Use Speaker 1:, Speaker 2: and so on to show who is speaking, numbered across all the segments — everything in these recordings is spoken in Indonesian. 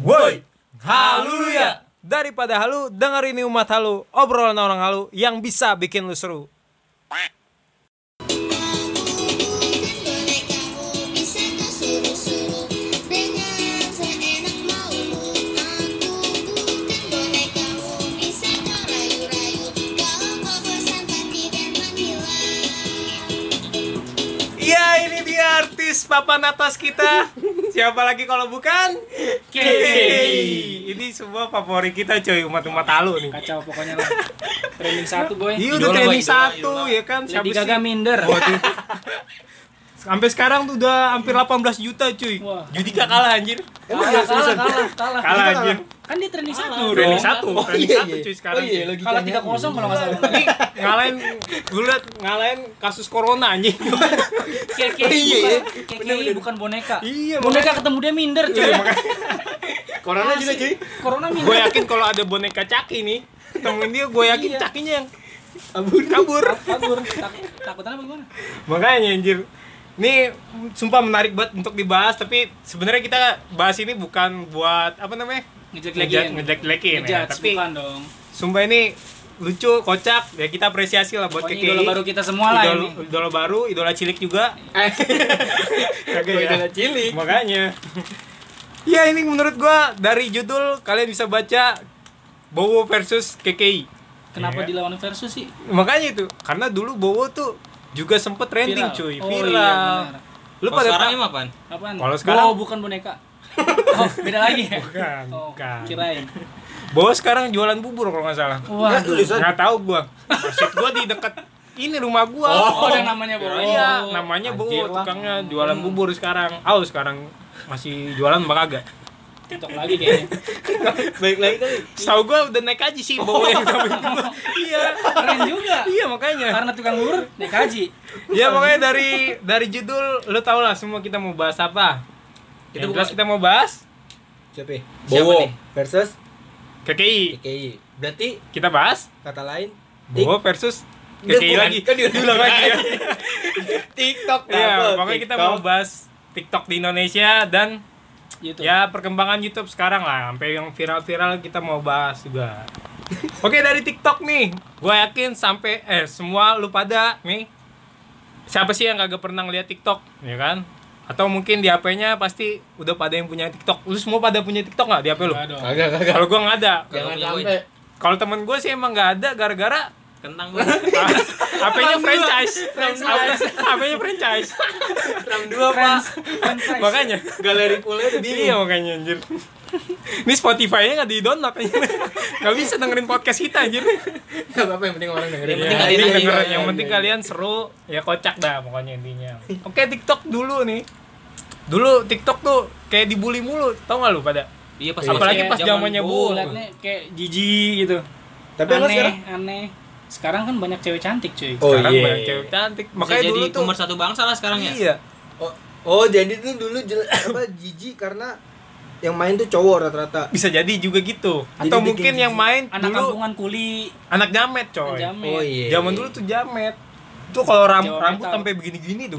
Speaker 1: Woi,
Speaker 2: Haleluya.
Speaker 1: Daripada halu, denger ini umat halu, obrolan orang halu yang bisa bikin lu seru.
Speaker 3: Boleh kamu bisa kesuruh-suruh Dengan seenak maumu Aku bukan boleh kamu bisa kau rayu-rayu Kalau kau bosan pasti dan menghilang
Speaker 1: Ya ini dia artis papan atas kita. Siapa lagi kalau bukan? Kiki. Ini semua favorit kita coy umat-umat halu nih.
Speaker 4: Kacau pokoknya lah. Training satu boy.
Speaker 1: Iya udah
Speaker 2: Idola,
Speaker 1: training
Speaker 2: idola,
Speaker 1: satu
Speaker 2: idola.
Speaker 1: ya kan.
Speaker 4: Lady
Speaker 1: Siapa
Speaker 4: Gaga
Speaker 1: sih?
Speaker 4: minder.
Speaker 1: Sampai sekarang tuh udah hampir 18 juta cuy.
Speaker 4: Wah.
Speaker 1: Judika kalah anjir.
Speaker 4: Kalah, kalah, kalah, kalah.
Speaker 1: iya, Kalah anjir.
Speaker 4: Kan dia training satu
Speaker 1: Training
Speaker 4: dong.
Speaker 1: satu,
Speaker 2: Oh,
Speaker 1: training
Speaker 2: iya,
Speaker 1: satu
Speaker 2: iya.
Speaker 1: cuy
Speaker 2: Oh,
Speaker 1: sekarang.
Speaker 2: iya,
Speaker 1: cuy.
Speaker 2: logikanya.
Speaker 4: Kalah 3-0 kalau nggak
Speaker 1: Iya,
Speaker 4: salah.
Speaker 1: ngalahin gue liat ngalahin kasus corona anjing
Speaker 4: KKI
Speaker 2: Iya, iya.
Speaker 4: bukan, KKI bukan boneka.
Speaker 1: Iya,
Speaker 4: boneka ketemu dia minder cuy.
Speaker 2: Corona juga cuy.
Speaker 4: Corona
Speaker 1: gue
Speaker 4: minder.
Speaker 1: yakin kalau ada boneka caki nih temuin dia gue yakin
Speaker 4: Iya.
Speaker 1: cakinya yang
Speaker 2: Abur.
Speaker 1: kabur
Speaker 4: Kabur. Tak- Takutan apa gimana?
Speaker 1: makanya anjir ini sumpah menarik banget untuk dibahas tapi sebenarnya kita bahas ini bukan buat apa namanya
Speaker 4: Ngejelek-jelekin.
Speaker 1: ngejelekin ya
Speaker 4: Ngejudge,
Speaker 1: tapi
Speaker 4: bukan dong.
Speaker 1: sumpah ini lucu kocak ya kita apresiasi lah buat
Speaker 4: Pokoknya
Speaker 1: KKI
Speaker 4: idola baru kita semua lah
Speaker 1: Idol-
Speaker 4: ini.
Speaker 1: idola baru idola cilik juga
Speaker 2: Eh.
Speaker 1: Kagak
Speaker 2: Gua
Speaker 1: ya?
Speaker 2: idola cilik.
Speaker 1: Makanya. ya ini menurut gua dari judul kalian bisa baca Bowo versus KKI.
Speaker 4: Kenapa
Speaker 1: Iya.
Speaker 4: dilawan versus sih?
Speaker 1: Makanya itu, karena dulu Bowo tuh juga sempet trending
Speaker 4: Viral.
Speaker 1: cuy,
Speaker 4: Oh,
Speaker 1: viral.
Speaker 4: iya, benar.
Speaker 1: Lu pada
Speaker 5: sekarang
Speaker 1: ta-
Speaker 5: emang apaan?
Speaker 4: Apaan?
Speaker 1: Kalau sekarang-
Speaker 4: Oh, bukan boneka. Oh, beda lagi ya?
Speaker 1: Bukan,
Speaker 4: Oh,
Speaker 1: bukan.
Speaker 4: kirain.
Speaker 1: Bowo sekarang jualan bubur kalau nggak salah.
Speaker 4: Wah,
Speaker 1: Nggak tahu gua. Maksud gua di dekat ini rumah gua.
Speaker 4: Oh, ada namanya Oh, Bowo.
Speaker 1: Iya, namanya Bowo
Speaker 2: Anjir lah. Hmm.
Speaker 1: tukangnya jualan bubur sekarang. Au sekarang masih jualan mbak kagak.
Speaker 4: TikTok lagi kayaknya.
Speaker 2: Baik lagi kali.
Speaker 1: Setahu gua udah naik aja sih Bowo yang sampai gua. Iya.
Speaker 4: Keren juga.
Speaker 1: Iya makanya.
Speaker 4: Karena tukang urut naik haji.
Speaker 1: Ya makanya dari dari judul lu tau lah semua kita mau bahas apa. Yang
Speaker 4: Itu bukan-
Speaker 1: jelas kita mau bahas
Speaker 2: Siapa? ya?
Speaker 5: Siapa
Speaker 2: Bowo
Speaker 5: nih?
Speaker 2: versus
Speaker 1: KKI.
Speaker 2: KKI. Berarti
Speaker 1: Kita bahas
Speaker 2: kata lain
Speaker 1: Bowo versus
Speaker 2: Udah,
Speaker 1: KKI
Speaker 2: bukan.
Speaker 1: lagi.
Speaker 2: Kan diulang
Speaker 1: Diulang lagi ya.
Speaker 2: TikTok.
Speaker 1: Iya,
Speaker 2: apa?
Speaker 1: makanya kita
Speaker 2: TikTok.
Speaker 1: mau bahas TikTok di Indonesia dan
Speaker 4: Gitu.
Speaker 1: ya perkembangan YouTube sekarang lah sampai yang viral-viral kita mau bahas juga. Oke dari TikTok nih, gua yakin sampai eh semua lu pada nih siapa sih yang kagak pernah ngeliat TikTok ya kan? Atau mungkin di HP-nya pasti udah pada yang punya TikTok. Lu semua pada punya TikTok nggak di HP lu?
Speaker 4: Nggak dong.
Speaker 2: Kagak kagak.
Speaker 1: Kalau gua nggak ada.
Speaker 2: Jangan
Speaker 5: punya
Speaker 2: sampai.
Speaker 1: Kalau temen gue sih emang nggak ada gara-gara
Speaker 5: Kentang gua.
Speaker 1: HP-nya franchise. HP-nya franchise.
Speaker 2: Ram dua Pak.
Speaker 1: Makanya
Speaker 2: Galeri pula udah
Speaker 1: Iya makanya anjir. Ini Spotify-nya nggak di download anjir. Nggak bisa dengerin podcast kita anjir.
Speaker 2: Enggak apa-apa yang penting orang dengerin.
Speaker 5: Yang
Speaker 1: Ya,
Speaker 5: penting
Speaker 1: ini
Speaker 5: kalian-
Speaker 1: dengerin.
Speaker 5: iya,
Speaker 1: yang
Speaker 2: iya,
Speaker 1: penting
Speaker 2: iya.
Speaker 1: kalian seru, ya kocak dah pokoknya intinya. Oke TikTok dulu nih. Dulu TikTok tuh kayak dibully mulu, tau gak lu pada?
Speaker 5: Iya pas
Speaker 1: Apalagi
Speaker 4: Iya,
Speaker 1: pas zamannya
Speaker 4: Oh,
Speaker 1: Bu.
Speaker 4: liatnya kayak jijik gitu.
Speaker 2: Tapi emang
Speaker 4: aneh,
Speaker 2: sekarang
Speaker 4: aneh. Sekarang kan banyak cewek cantik, cuy.
Speaker 2: Oh,
Speaker 1: Sekarang
Speaker 2: iya.
Speaker 1: banyak cewek cantik.
Speaker 5: Makanya
Speaker 1: Makanya
Speaker 5: jadi
Speaker 1: dulu tuh.
Speaker 5: nomor satu bangsa lah sekarang ya.
Speaker 1: Iya.
Speaker 2: Oh, oh jadi tuh dulu jel- apa jijik karena yang main tuh cowok rata-rata.
Speaker 1: Bisa jadi juga gitu.
Speaker 2: Jadi
Speaker 1: Atau
Speaker 2: bikin
Speaker 1: mungkin yang
Speaker 2: jijik.
Speaker 1: main dulu
Speaker 4: Anak kampungan kuli,
Speaker 1: anak jamet coy.
Speaker 4: jamet.
Speaker 2: Oh iya.
Speaker 1: Zaman dulu tuh jamet. Tuh kalau ram-
Speaker 4: Jawa
Speaker 1: rambut
Speaker 4: metal.
Speaker 1: sampai begini-gini tuh.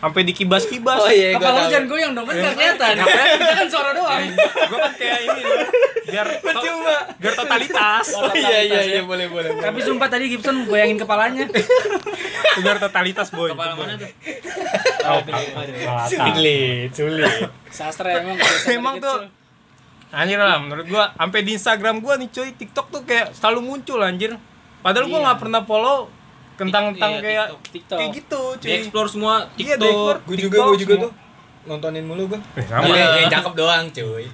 Speaker 1: Sampai dikibas-kibas.
Speaker 2: Hmm. Oh iya, gua
Speaker 4: Kepala lu
Speaker 2: tahu.
Speaker 4: jangan goyang dong, kan nggak kelihatan. Kita kan suara doang.
Speaker 1: gue kan kayak ini loh, biar
Speaker 2: Percuma.
Speaker 1: biar totalitas
Speaker 2: Oh iya iya iya boleh boleh. boleh.
Speaker 4: Tapi sumpah tadi Gibson goyangin kepalanya.
Speaker 1: biar totalitas boy
Speaker 5: Kepala mana
Speaker 2: Iya,
Speaker 5: tuh?
Speaker 1: Oh, kepala. sulit sulit
Speaker 4: Sastra emang kalau sastra
Speaker 1: Emang
Speaker 4: dikit,
Speaker 1: tuh.
Speaker 4: cuy.
Speaker 1: anjir lah menurut gua sampai di Instagram gua nih cuy TikTok tuh kayak selalu muncul anjir padahal gua
Speaker 4: Iya.
Speaker 1: nggak pernah follow kentang kentang
Speaker 5: Iya,
Speaker 1: kayak
Speaker 4: TikTok.
Speaker 1: kayak gitu
Speaker 5: Di
Speaker 1: cuy
Speaker 5: explore semua
Speaker 1: Iya, di explore.
Speaker 5: TikTok.
Speaker 2: Gue juga gue juga
Speaker 1: TikTok
Speaker 2: tuh nontonin mulu gue.
Speaker 1: Eh, sama.
Speaker 2: yang Iya, cakep doang cuy.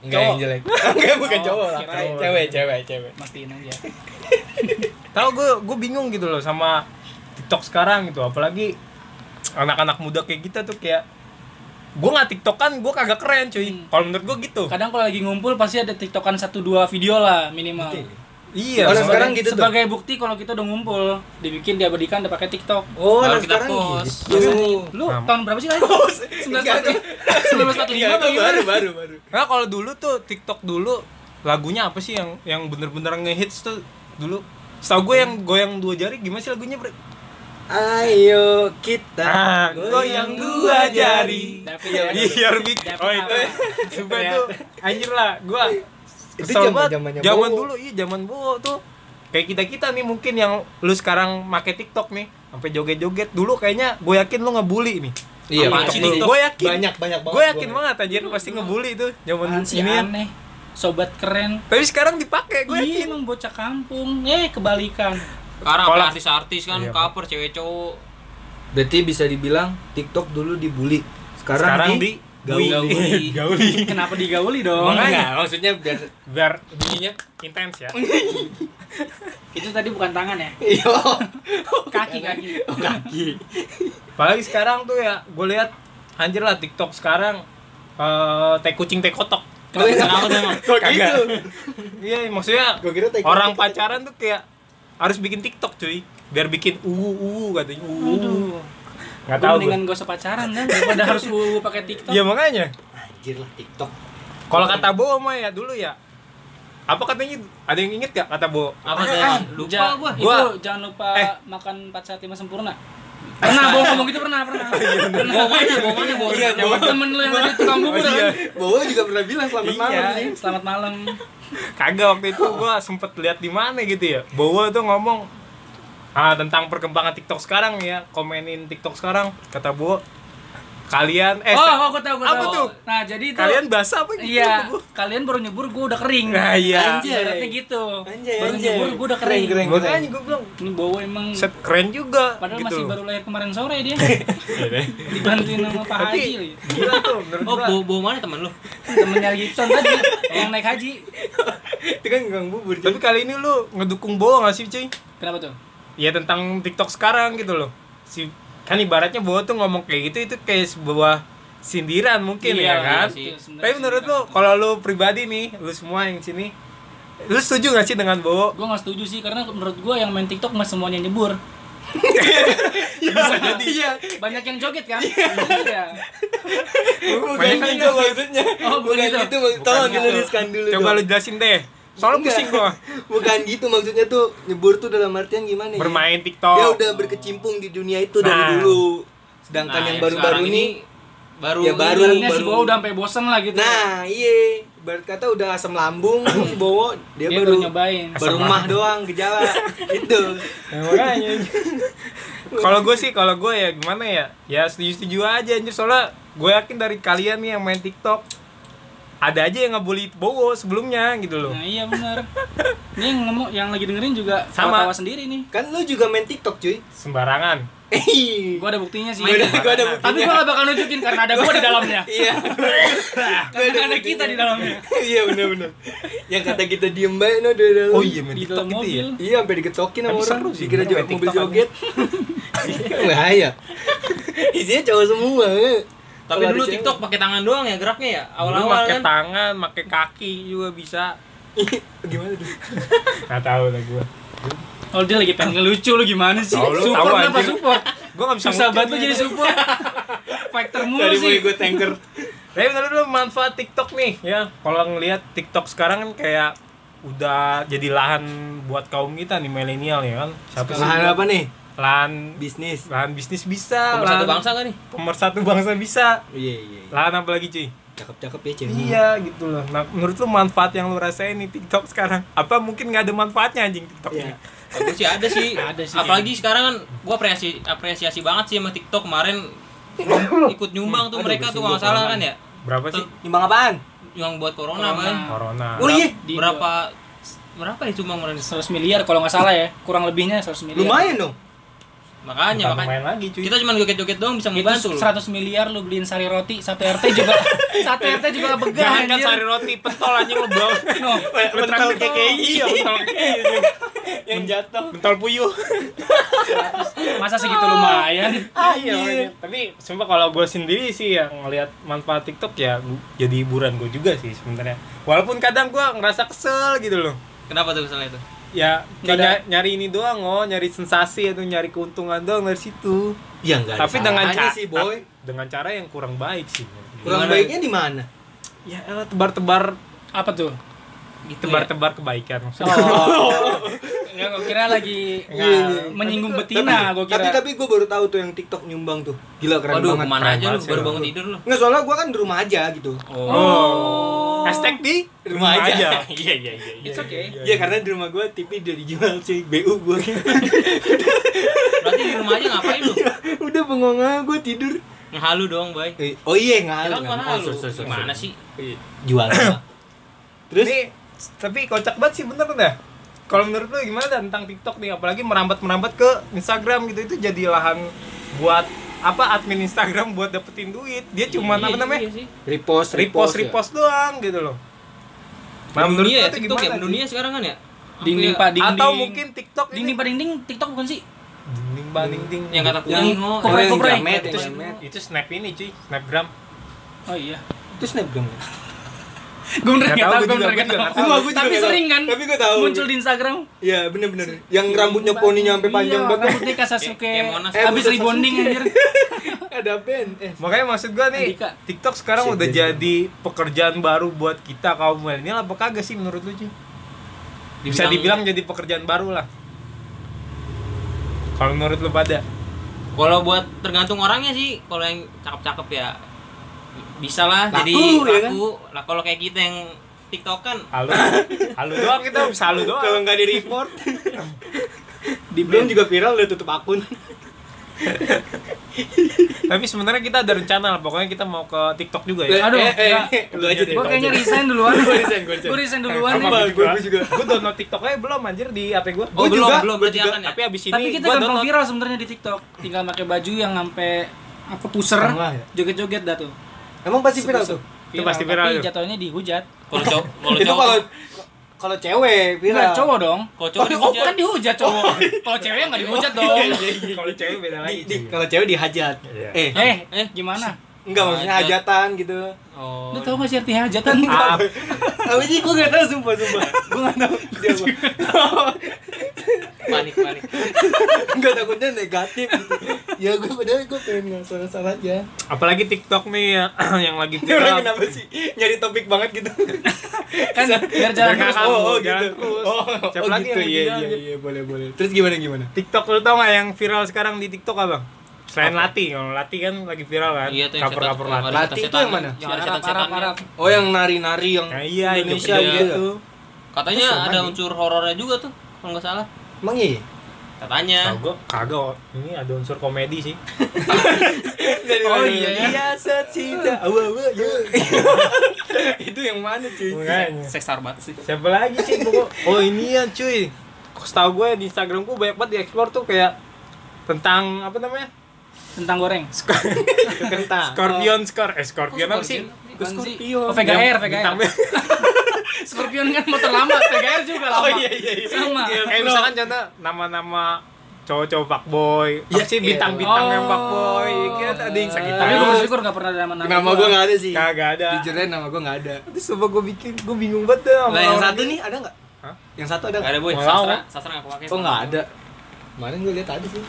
Speaker 2: Enggak yang
Speaker 4: Cowok.
Speaker 2: jelek. Enggak bukan
Speaker 4: Oh,
Speaker 2: cowok lah.
Speaker 4: kirain.
Speaker 2: Cewek cewek cewek.
Speaker 4: Mastiin aja.
Speaker 1: tahu gue gue bingung gitu loh sama TikTok sekarang gitu apalagi anak-anak muda kayak kita tuh kayak gue nggak tiktokan gue kagak keren cuy
Speaker 4: Hmm.
Speaker 1: kalau menurut gue gitu
Speaker 4: Kadang kalau lagi ngumpul pasti ada tiktokan satu dua video lah minimal.
Speaker 1: iya
Speaker 2: Orang
Speaker 1: makanya-
Speaker 2: sekarang gitu tuh.
Speaker 4: Sebagai bukti kalau kita udah ngumpul, dibikin diabadikan udah pakai tiktok.
Speaker 2: Oh,
Speaker 5: Baru
Speaker 2: nah
Speaker 5: kita
Speaker 2: sekarang
Speaker 5: post.
Speaker 2: gitu.
Speaker 4: Lu
Speaker 1: Nah,
Speaker 4: tahun berapa sih lahir? 1945
Speaker 2: Iya, itu
Speaker 4: bagaimana?
Speaker 2: baru baru baru.
Speaker 1: Nah kalau dulu tuh TikTok dulu lagunya apa sih yang yang bener-bener ngehits tuh dulu? Setahu gue yang goyang dua jari gimana sih lagunya? Bre?
Speaker 2: Ayo kita
Speaker 1: Ah, goyang dua jari.
Speaker 4: David
Speaker 1: Iya,
Speaker 4: apa?
Speaker 1: biar bikin.
Speaker 4: David
Speaker 1: Oh itu.
Speaker 4: apa?
Speaker 1: Sumpah itu anjir lah gua.
Speaker 2: Itu
Speaker 1: kesel
Speaker 2: zaman-
Speaker 1: banget.
Speaker 2: zamannya
Speaker 1: zaman
Speaker 2: Bowo.
Speaker 1: dulu iya zaman bowo tuh. Kayak kita-kita nih mungkin yang lu sekarang make TikTok nih sampai joget-joget dulu kayaknya gue yakin lu ngebully nih.
Speaker 2: Iya,
Speaker 1: Sama
Speaker 5: pasti
Speaker 1: TikTok.
Speaker 5: TikTok.
Speaker 1: Gue yakin.
Speaker 2: Banyak, banyak banget
Speaker 1: Gue yakin
Speaker 2: gua. ya.
Speaker 1: banget anjir pasti ngebully itu zaman
Speaker 4: Apaan sih
Speaker 1: ini.
Speaker 4: aneh sobat keren
Speaker 1: Tapi sekarang dipakai gue
Speaker 4: Iya
Speaker 1: yakin.
Speaker 4: emang bocah kampung Eh kebalikan
Speaker 5: Sekarang
Speaker 1: Kolak.
Speaker 5: artis artis kan
Speaker 1: Iya.
Speaker 5: cover cewek cowok.
Speaker 2: Berarti bisa dibilang TikTok dulu dibully. Sekarang,
Speaker 1: Sekarang
Speaker 2: di,
Speaker 1: di
Speaker 2: gauli.
Speaker 5: Gauli.
Speaker 1: Gauli.
Speaker 4: Kenapa digauli dong
Speaker 2: Nah,
Speaker 1: Makanya
Speaker 5: maksudnya biar
Speaker 1: biar bunyinya intens ya.
Speaker 4: Itu tadi bukan tangan ya
Speaker 2: Iya.
Speaker 4: Kaki kaki
Speaker 2: Oh,
Speaker 1: Apalagi sekarang tuh ya, gue lihat anjir lah TikTok sekarang eh teh kucing teh kotok.
Speaker 5: kenapa tuh emang?
Speaker 2: Kok gitu?
Speaker 1: Iya, maksudnya
Speaker 2: Gua kira teh kotok.
Speaker 1: orang pacaran tuh kayak harus bikin TikTok cuy, biar bikin uu uu katanya uu.
Speaker 4: Aduh
Speaker 1: Nggak
Speaker 4: Gue
Speaker 1: tahu
Speaker 4: mendingan gak usah pacaran kan Daripada harus gue pakai
Speaker 1: gua.
Speaker 4: tiktok
Speaker 1: Iya makanya.
Speaker 2: Anjir lah TikTok.
Speaker 1: Kalau kata Bo mah ya dulu ya. Apa katanya? Ada yang inget gak kata Bo?
Speaker 5: Apa tuh?
Speaker 4: Ah,
Speaker 5: Lupa
Speaker 4: Ja-
Speaker 5: gua.
Speaker 4: Itu
Speaker 1: Gua-
Speaker 4: jangan lupa
Speaker 1: Eh.
Speaker 4: makan 4 saat 5 sempurna. Pernah gua ngomong gitu pernah, pernah. Pernah.
Speaker 5: Bawa mana? Bawa mana? Bawa
Speaker 2: Iya,
Speaker 5: mana?
Speaker 2: bawa.
Speaker 4: Temen lu yang tadi tukang bubur
Speaker 1: Oh, iya.
Speaker 4: kan?
Speaker 2: Bowo juga pernah bilang selamat
Speaker 1: Iya.
Speaker 2: malam sih.
Speaker 4: Selamat malam.
Speaker 1: Kagak waktu itu gua sempet lihat di mana gitu ya. Bowo tuh ngomong ah, tentang perkembangan TikTok sekarang ya, komenin TikTok sekarang kata Bowo kalian eh
Speaker 4: Oh, oh, gua tahu, gua
Speaker 1: Apa
Speaker 4: tahu.
Speaker 1: tuh?
Speaker 4: Nah, jadi itu
Speaker 1: kalian basah apa gitu
Speaker 4: Iya,
Speaker 1: Bu?
Speaker 4: kalian baru nyebur gua udah kering.
Speaker 1: Nah, iya.
Speaker 4: Anjir, ibaratnya gitu.
Speaker 2: Anjay,
Speaker 4: baru
Speaker 2: anjay.
Speaker 4: nyebur gua udah kering.
Speaker 2: Keren, keren.
Speaker 1: Makanya gue bilang
Speaker 4: Ini bawa emang
Speaker 1: set keren juga
Speaker 4: padahal
Speaker 1: gitu.
Speaker 4: masih baru lahir kemarin sore dia. Dibantuin sama Pak
Speaker 1: Tapi
Speaker 4: Haji lagi.
Speaker 1: gila tuh menurut
Speaker 5: Oh,
Speaker 1: gua.
Speaker 5: bawa, bawa mana teman lu?
Speaker 4: Temennya Gibson tadi yang naik haji.
Speaker 2: Itu kan gang bubur.
Speaker 1: Tapi kali ini lu ngedukung Bowo gak sih, Cuy?
Speaker 4: Kenapa tuh?
Speaker 1: Ya tentang TikTok sekarang gitu loh. Si kan ibaratnya Bowo tuh ngomong kayak gitu itu kayak sebuah sindiran mungkin
Speaker 4: Iya,
Speaker 1: ya kan.
Speaker 4: iya sih, sebenarnya
Speaker 1: Tapi menurut lu
Speaker 4: sindiran.
Speaker 1: kalau lu pribadi nih, lu semua yang sini lu setuju gak sih dengan Bowo?
Speaker 4: Gue gak setuju sih karena menurut gue yang main TikTok mas semuanya nyebur.
Speaker 2: bisa jadi. Iya.
Speaker 4: Banyak yang joget kan? Iya.
Speaker 2: Bukan
Speaker 1: Mainkan
Speaker 2: itu maksudnya.
Speaker 4: Oh, bukan
Speaker 2: bukan
Speaker 4: itu.
Speaker 2: itu. maksud- Tolong
Speaker 4: gitu.
Speaker 2: diluruskan dulu.
Speaker 1: Coba
Speaker 2: dong.
Speaker 1: lu jelasin deh. Soalnya
Speaker 2: Enggak.
Speaker 1: pusing gua.
Speaker 2: Bukan gitu maksudnya tuh nyebur tuh dalam artian gimana ya?
Speaker 1: Bermain
Speaker 2: Dia
Speaker 1: TikTok.
Speaker 2: udah berkecimpung di dunia itu dari
Speaker 1: Nah.
Speaker 2: dulu. Sedangkan
Speaker 5: Nah,
Speaker 2: yang
Speaker 5: sekarang
Speaker 2: baru-baru ini
Speaker 5: baru
Speaker 2: Ya, baru.
Speaker 4: Ibaratnya si Bowo udah sampai bosen lah gitu.
Speaker 2: Nah, iya. Ibarat kata udah asam lambung si Bowo, dia,
Speaker 4: dia
Speaker 2: ya baru
Speaker 4: baru nyobain.
Speaker 1: Asam
Speaker 2: baru mah doang gejala gitu.
Speaker 1: Ya, makanya. kalau gue sih kalau gue ya gimana ya ya setuju setuju aja anjir soalnya gue yakin dari kalian nih yang main TikTok ada aja yang ngebully Bowo sebelumnya gitu loh
Speaker 4: Nah, iya benar. Ini yang ngomong yang lagi dengerin juga
Speaker 1: Sama.
Speaker 4: tawa sendiri nih.
Speaker 2: Kan lu juga main TikTok, cuy.
Speaker 1: sembarangan
Speaker 2: Eh.
Speaker 4: Gue ada buktinya sih.
Speaker 2: Gua ada- gua ada buktinya.
Speaker 4: Tapi gue gak bakal nunjukin karena ada gue di dalamnya.
Speaker 2: Iya.
Speaker 4: Karena ada kita di dalamnya.
Speaker 2: Iya benar-benar. Yang kata kita diem baik no dari dalam.
Speaker 1: main
Speaker 4: Di dalam mobil.
Speaker 2: Iya sampai digetokin sama
Speaker 1: Oh, Tapi
Speaker 2: orang.
Speaker 1: seru sih,
Speaker 2: Dikira
Speaker 1: bener,
Speaker 2: jo-
Speaker 1: main
Speaker 2: mobil
Speaker 1: TikTok
Speaker 2: joget. Bahaya. Isinya cowok semua.
Speaker 5: Tapi
Speaker 2: Kalau
Speaker 5: dulu
Speaker 2: ada
Speaker 5: TikTok pakai tangan doang ya geraknya ya.
Speaker 1: Lu
Speaker 5: Awal-awal
Speaker 1: pakai
Speaker 5: kan.
Speaker 1: tangan pakai kaki juga bisa
Speaker 2: cewek. Gimana tuh?
Speaker 1: nggak tahu lah gue
Speaker 4: Kalau dia lagi pengen ngelucu lu gimana sih?
Speaker 1: Tahu lu,
Speaker 4: support
Speaker 1: tahu
Speaker 4: kenapa
Speaker 1: anjir.
Speaker 4: support?
Speaker 1: gue nggak bisa
Speaker 4: Susah
Speaker 1: ngukir
Speaker 4: banget lu
Speaker 1: nih.
Speaker 4: jadi support. Factor mulu
Speaker 2: Dari mulai
Speaker 4: sih.
Speaker 2: gue tanker.
Speaker 1: tapi menurut lu manfaat TikTok nih ya kalau ngelihat TikTok sekarang kan kayak udah jadi lahan buat kaum kita nih milenial ya kan siapa sih
Speaker 2: Lahan apa nih?
Speaker 1: lahan
Speaker 2: Bisnis.
Speaker 1: lahan bisnis bisa
Speaker 5: Pemersatu
Speaker 1: lahan-
Speaker 5: bangsa kan nih?
Speaker 1: pemersatu bangsa bisa
Speaker 2: Iya iya. iya.
Speaker 1: lahan apa lagi cuy
Speaker 2: Cakep-cakep ya cewek.
Speaker 1: iya gitu loh nah menurut lu manfaat yang lu rasain nih TikTok sekarang apa mungkin nggak ada manfaatnya anjing TikTok
Speaker 2: Iya.
Speaker 1: ini
Speaker 5: Aku sih ada sih.
Speaker 4: Ada sih,
Speaker 5: Apalagi sekarang kan gua apresiasi apresiasi banget sih sama TikTok kemarin ikut nyumbang tuh
Speaker 2: Aduh,
Speaker 5: mereka tuh
Speaker 2: bersih gua
Speaker 5: nggak salah
Speaker 2: corona.
Speaker 5: kan ya.
Speaker 1: berapa sih
Speaker 5: Tuh,
Speaker 2: Nyumbang apaan?
Speaker 5: yang buat corona
Speaker 4: Corona.
Speaker 5: kan.
Speaker 1: corona
Speaker 2: Oh iya.
Speaker 4: Di-
Speaker 5: Berapa berapa ya cuma kemarin?
Speaker 4: 100 miliar kalau nggak salah ya. Kurang lebihnya 100 miliar.
Speaker 2: Lumayan dong.
Speaker 5: Makanya
Speaker 1: Bukan
Speaker 5: makanya
Speaker 1: main lagi cuy
Speaker 5: kita cuma joget-joget doang bisa
Speaker 4: Itu
Speaker 5: ngebantu loh.
Speaker 4: 100 miliar lu beliin sari roti, satu RT juga satu RT juga begah
Speaker 1: jangan kan sari
Speaker 4: anjir.
Speaker 1: roti pentol anjing lu bawa
Speaker 4: No.
Speaker 2: Mentol KKI.
Speaker 1: iya pentol KKI
Speaker 2: Yang jatuh.
Speaker 1: pentol puyuh
Speaker 4: Masa segitu lumayan.
Speaker 1: iya makanya. tapi sumpah kalau gue sendiri sih yang ngelihat manfaat TikTok ya gu- jadi hiburan gue juga sih sebenarnya walaupun kadang gue ngerasa kesel gitu loh
Speaker 5: Kenapa tuh misalnya itu?
Speaker 1: ya
Speaker 4: Nggak ada.
Speaker 1: kayak ny- nyari ini doang oh nyari sensasi atau nyari keuntungan doang dari situ
Speaker 2: Ya enggak. ada
Speaker 1: tapi dengan
Speaker 2: salahnya
Speaker 1: cara
Speaker 2: sih, boy.
Speaker 1: dengan cara yang kurang baik sih
Speaker 2: Kurang
Speaker 5: Gimana?
Speaker 2: baiknya di mana?
Speaker 1: ya elah,
Speaker 5: Iya.
Speaker 1: tebar-tebar
Speaker 4: Apa tuh?
Speaker 5: Gitu ya.
Speaker 1: tebar-tebar kebaikan maksudnya
Speaker 4: Oh. Enggak, gue kira lagi
Speaker 1: Iya,
Speaker 4: uh,
Speaker 1: iya.
Speaker 4: menyinggung betina, gue
Speaker 2: Tapi
Speaker 4: kira.
Speaker 2: tapi gue baru tahu tuh yang TikTok nyumbang tuh. Gila keren
Speaker 5: Waduh,
Speaker 2: banget.
Speaker 5: kemana
Speaker 1: keren
Speaker 5: aja lu?
Speaker 1: banget sih
Speaker 5: Baru
Speaker 1: lu.
Speaker 5: bangun tidur lu.
Speaker 2: Nggak soalnya gue kan di rumah aja gitu.
Speaker 1: Oh. Hashtag di
Speaker 2: Rumah aja.
Speaker 5: Iya, iya, iya. iya.
Speaker 4: It's okay.
Speaker 2: Iya karena di rumah gue TV udah dijual sih BU gue.
Speaker 5: Berarti di rumah aja ngapain lu?
Speaker 2: udah bengong aja gue tidur.
Speaker 5: Ngehalu dong, Bay.
Speaker 2: Eh, Oh iya
Speaker 5: Ya kan
Speaker 2: ngal. ngal.
Speaker 5: ngehalu.
Speaker 1: sorry, sorry, sorry.
Speaker 5: Gimana sih?
Speaker 2: Jual. ngal. Terus
Speaker 1: Ini, tapi kocak banget sih bener dah. Kalau menurut lu gimana dah tentang TikTok nih apalagi merambat-merambat ke Instagram gitu itu jadi lahan buat apa admin Instagram buat dapetin duit. Dia cuma
Speaker 5: Iya,
Speaker 1: apa namanya?
Speaker 5: iya sih.
Speaker 2: repost
Speaker 1: repost
Speaker 2: ya.
Speaker 1: repost doang gitu loh. Nah, menurut
Speaker 5: Dunia
Speaker 1: lu
Speaker 5: ya,
Speaker 1: tuh
Speaker 5: TikTok ya,
Speaker 1: gimana, Ji?
Speaker 5: dunia sekarang kan ya.
Speaker 4: Dinding
Speaker 5: Apa ya?
Speaker 4: pak dinding.
Speaker 1: Atau mungkin TikTok ini
Speaker 4: dinding pak dinding TikTok bukan sih?
Speaker 1: dinding banding ding.
Speaker 5: yang kata
Speaker 2: Yang
Speaker 5: kuningo.
Speaker 4: Koprai,
Speaker 2: yang
Speaker 4: koprai.
Speaker 2: jamet, yang
Speaker 1: itu,
Speaker 2: jamet.
Speaker 1: itu snap ini cuy, snapgram.
Speaker 4: Oh iya.
Speaker 2: Itu snapgram. ya?
Speaker 4: Gue
Speaker 1: Nggak
Speaker 4: bener nggak
Speaker 1: tahu, gua
Speaker 4: tahu, gue
Speaker 1: juga-
Speaker 4: bener
Speaker 1: gua
Speaker 4: nggak
Speaker 1: juga
Speaker 4: tahu.
Speaker 1: nggak tahu.
Speaker 2: Gua juga
Speaker 4: Tapi
Speaker 2: nggak
Speaker 4: sering
Speaker 2: tahu.
Speaker 4: kan?
Speaker 2: Tapi gua tahu.
Speaker 4: Muncul di Instagram.
Speaker 2: Iya bener-bener. Yang rambutnya poninya sampai panjang
Speaker 4: Iya,
Speaker 2: banget.
Speaker 4: Rambutnya kayak Sasuke.
Speaker 5: Kayak Monas.
Speaker 2: Eh,
Speaker 4: Abis
Speaker 2: bukan
Speaker 4: rebonding anjir.
Speaker 2: Ada band. Eh
Speaker 1: Makanya maksud gua nih,
Speaker 4: Andika.
Speaker 1: TikTok sekarang
Speaker 2: Shit,
Speaker 1: udah
Speaker 2: dia
Speaker 1: jadi pekerjaan baru buat kita kaum milenial apa kagak sih menurut lu, Ci? Bisa dibilang
Speaker 5: Dibilang-
Speaker 1: jadi pekerjaan baru lah. Kalau menurut lu pada
Speaker 5: Kalau buat tergantung orangnya sih, kalau yang cakep-cakep ya bisa lah
Speaker 2: Laku,
Speaker 5: jadi
Speaker 2: ya kan?
Speaker 5: laku. Lah kalau kayak kita yang kan, TikTokan
Speaker 1: halu halu doang kita bisa halu
Speaker 2: Kalau
Speaker 1: doang.
Speaker 2: nggak di report. di belum juga viral udah tutup akun.
Speaker 4: Eh,
Speaker 1: Tapi sebenarnya kita ada rencana lah, pokoknya kita mau ke TikTok juga ya.
Speaker 4: Aduh,
Speaker 2: eh, eh,
Speaker 4: nggak.
Speaker 2: eh, lu aja deh.
Speaker 4: Gue kayaknya resign duluan.
Speaker 2: Gua resign, gua resign.
Speaker 4: Gue Eh, resign duluan
Speaker 1: Sama
Speaker 4: nih.
Speaker 2: Apa?
Speaker 1: gua
Speaker 2: gua juga.
Speaker 1: juga. Gua download TikTok aja belum anjir di HP gua.
Speaker 5: Oh,
Speaker 2: Gua
Speaker 5: belum,
Speaker 2: juga,
Speaker 5: belum
Speaker 2: gua
Speaker 5: berarti
Speaker 2: juga.
Speaker 5: akan ya.
Speaker 1: Tapi abis ini
Speaker 4: Tapi kita
Speaker 1: gua
Speaker 4: gampang
Speaker 1: download
Speaker 4: viral sebenarnya di TikTok. Tinggal pakai baju yang sampai apa puser,
Speaker 2: Setengah ya?
Speaker 4: joget-joget dah tuh.
Speaker 2: Emang pasti viral tuh.
Speaker 1: Itu pasti viral
Speaker 4: Tapi
Speaker 1: tuh.
Speaker 4: jatuhnya dihujat.
Speaker 5: kalau cowok kalau
Speaker 2: Itu
Speaker 5: cowok
Speaker 2: kalau kalau cewek viral.
Speaker 4: Enggak, cowok dong.
Speaker 5: kalau cowok
Speaker 4: Oh, iya.
Speaker 5: dihujat.
Speaker 4: kan dihujat cowok. Kalau cewek nggak dihujat dong.
Speaker 2: Iya,
Speaker 1: Kalau cewek beda
Speaker 2: Di,
Speaker 1: lagi.
Speaker 2: di, kalau cewek dihajat.
Speaker 1: Iya.
Speaker 2: Eh,
Speaker 4: Eh,
Speaker 5: Eh.
Speaker 4: eh gimana?
Speaker 2: enggak maksudnya
Speaker 5: Hajat.
Speaker 2: hajatan gitu.
Speaker 5: Oh.
Speaker 4: Lu tau gak sih arti hajatan?
Speaker 1: Ah,
Speaker 2: Tapi sih gua enggak tahu sumpah sumpah. Gua enggak tahu dia apa.
Speaker 5: panik panik.
Speaker 2: Enggak takutnya negatif gitu. Ya gua padahal gua pengen enggak salah-salah aja.
Speaker 1: apalagi TikTok nih yang, yang lagi
Speaker 2: Ini orang
Speaker 1: viral.
Speaker 2: kenapa sih nyari topik banget gitu?
Speaker 4: kan biar jalan
Speaker 1: Biar
Speaker 4: terus.
Speaker 1: kakak.
Speaker 2: oh, oh,
Speaker 1: jalan
Speaker 2: gitu.
Speaker 1: terus.
Speaker 2: Oh,
Speaker 1: Siapa
Speaker 2: oh,
Speaker 1: lagi
Speaker 2: gitu.
Speaker 1: yang
Speaker 2: Iya,
Speaker 1: viral?
Speaker 2: iya, iya, boleh, boleh. Terus gimana gimana?
Speaker 1: TikTok lu tau gak yang viral sekarang di TikTok abang? Selain Lati, kalau Lati kan lagi viral kan?
Speaker 5: Iya tuh yang
Speaker 1: Kapur-kapur
Speaker 5: setan-
Speaker 1: Lati.
Speaker 5: ada
Speaker 2: Lati itu
Speaker 5: setan-setannya.
Speaker 2: yang mana?
Speaker 5: Yang ada
Speaker 4: Arab, Arab,
Speaker 5: setan-setannya.
Speaker 4: Arab.
Speaker 2: Oh, yang nari-nari yang
Speaker 1: Nah, iya, itu
Speaker 2: Indonesia
Speaker 1: dia.
Speaker 2: gitu. ya?
Speaker 5: Katanya
Speaker 2: Terus
Speaker 5: ada
Speaker 2: lagi.
Speaker 5: unsur horornya juga tuh, kalau nggak salah.
Speaker 2: Emang iya?
Speaker 5: Katanya.
Speaker 1: Kalau gua kagak, oh. ini ada unsur komedi sih.
Speaker 4: Oh iya ya.
Speaker 2: secinta. Awa, awa, ya. Itu yang mana, cuy?
Speaker 1: Makanya.
Speaker 4: Seksar banget sih.
Speaker 1: Siapa lagi sih pokok? Oh ini ya cuy. Setahu gue di Instagram gue banyak banget dieksplor tuh kayak tentang apa namanya?
Speaker 4: Tentang goreng.
Speaker 2: Kentang.
Speaker 1: Scorpion, skor, eh Scorpion apa sih?
Speaker 4: Bukan sih.
Speaker 2: Scorpion.
Speaker 4: Oh, Vega Air, Vega Air.
Speaker 1: Bintang-
Speaker 4: Scorpion kan motor lama, Vega Air juga lama.
Speaker 2: Oh iya iya. iya.
Speaker 4: Sama.
Speaker 1: Kayak misalkan contoh nama-nama cowok-cowok fuckboy Apa
Speaker 2: Ya,
Speaker 1: sih
Speaker 2: iya.
Speaker 1: bintang-bintang yang
Speaker 4: Oh.
Speaker 1: fuckboy Kan ada yang sakit
Speaker 4: Eh, Tapi gue
Speaker 1: gua
Speaker 4: bersyukur gak pernah ada nama-nama.
Speaker 2: Nama gue nggak ada sih.
Speaker 1: Kagak ada
Speaker 2: Jujur aja nama gue nggak ada.
Speaker 1: Terus coba gue bikin, gue bingung banget deh sama
Speaker 2: Nah yang
Speaker 1: orang
Speaker 2: satu
Speaker 1: ini.
Speaker 2: nih ada nggak?
Speaker 1: Hah?
Speaker 2: Yang satu ada
Speaker 5: Gak
Speaker 2: nggak?
Speaker 5: ada boy,
Speaker 1: Nggak
Speaker 5: sastra,
Speaker 1: tahu.
Speaker 5: sastra nggak pakai.
Speaker 2: Oh nggak ada. Kemarin gue lihat ada sih.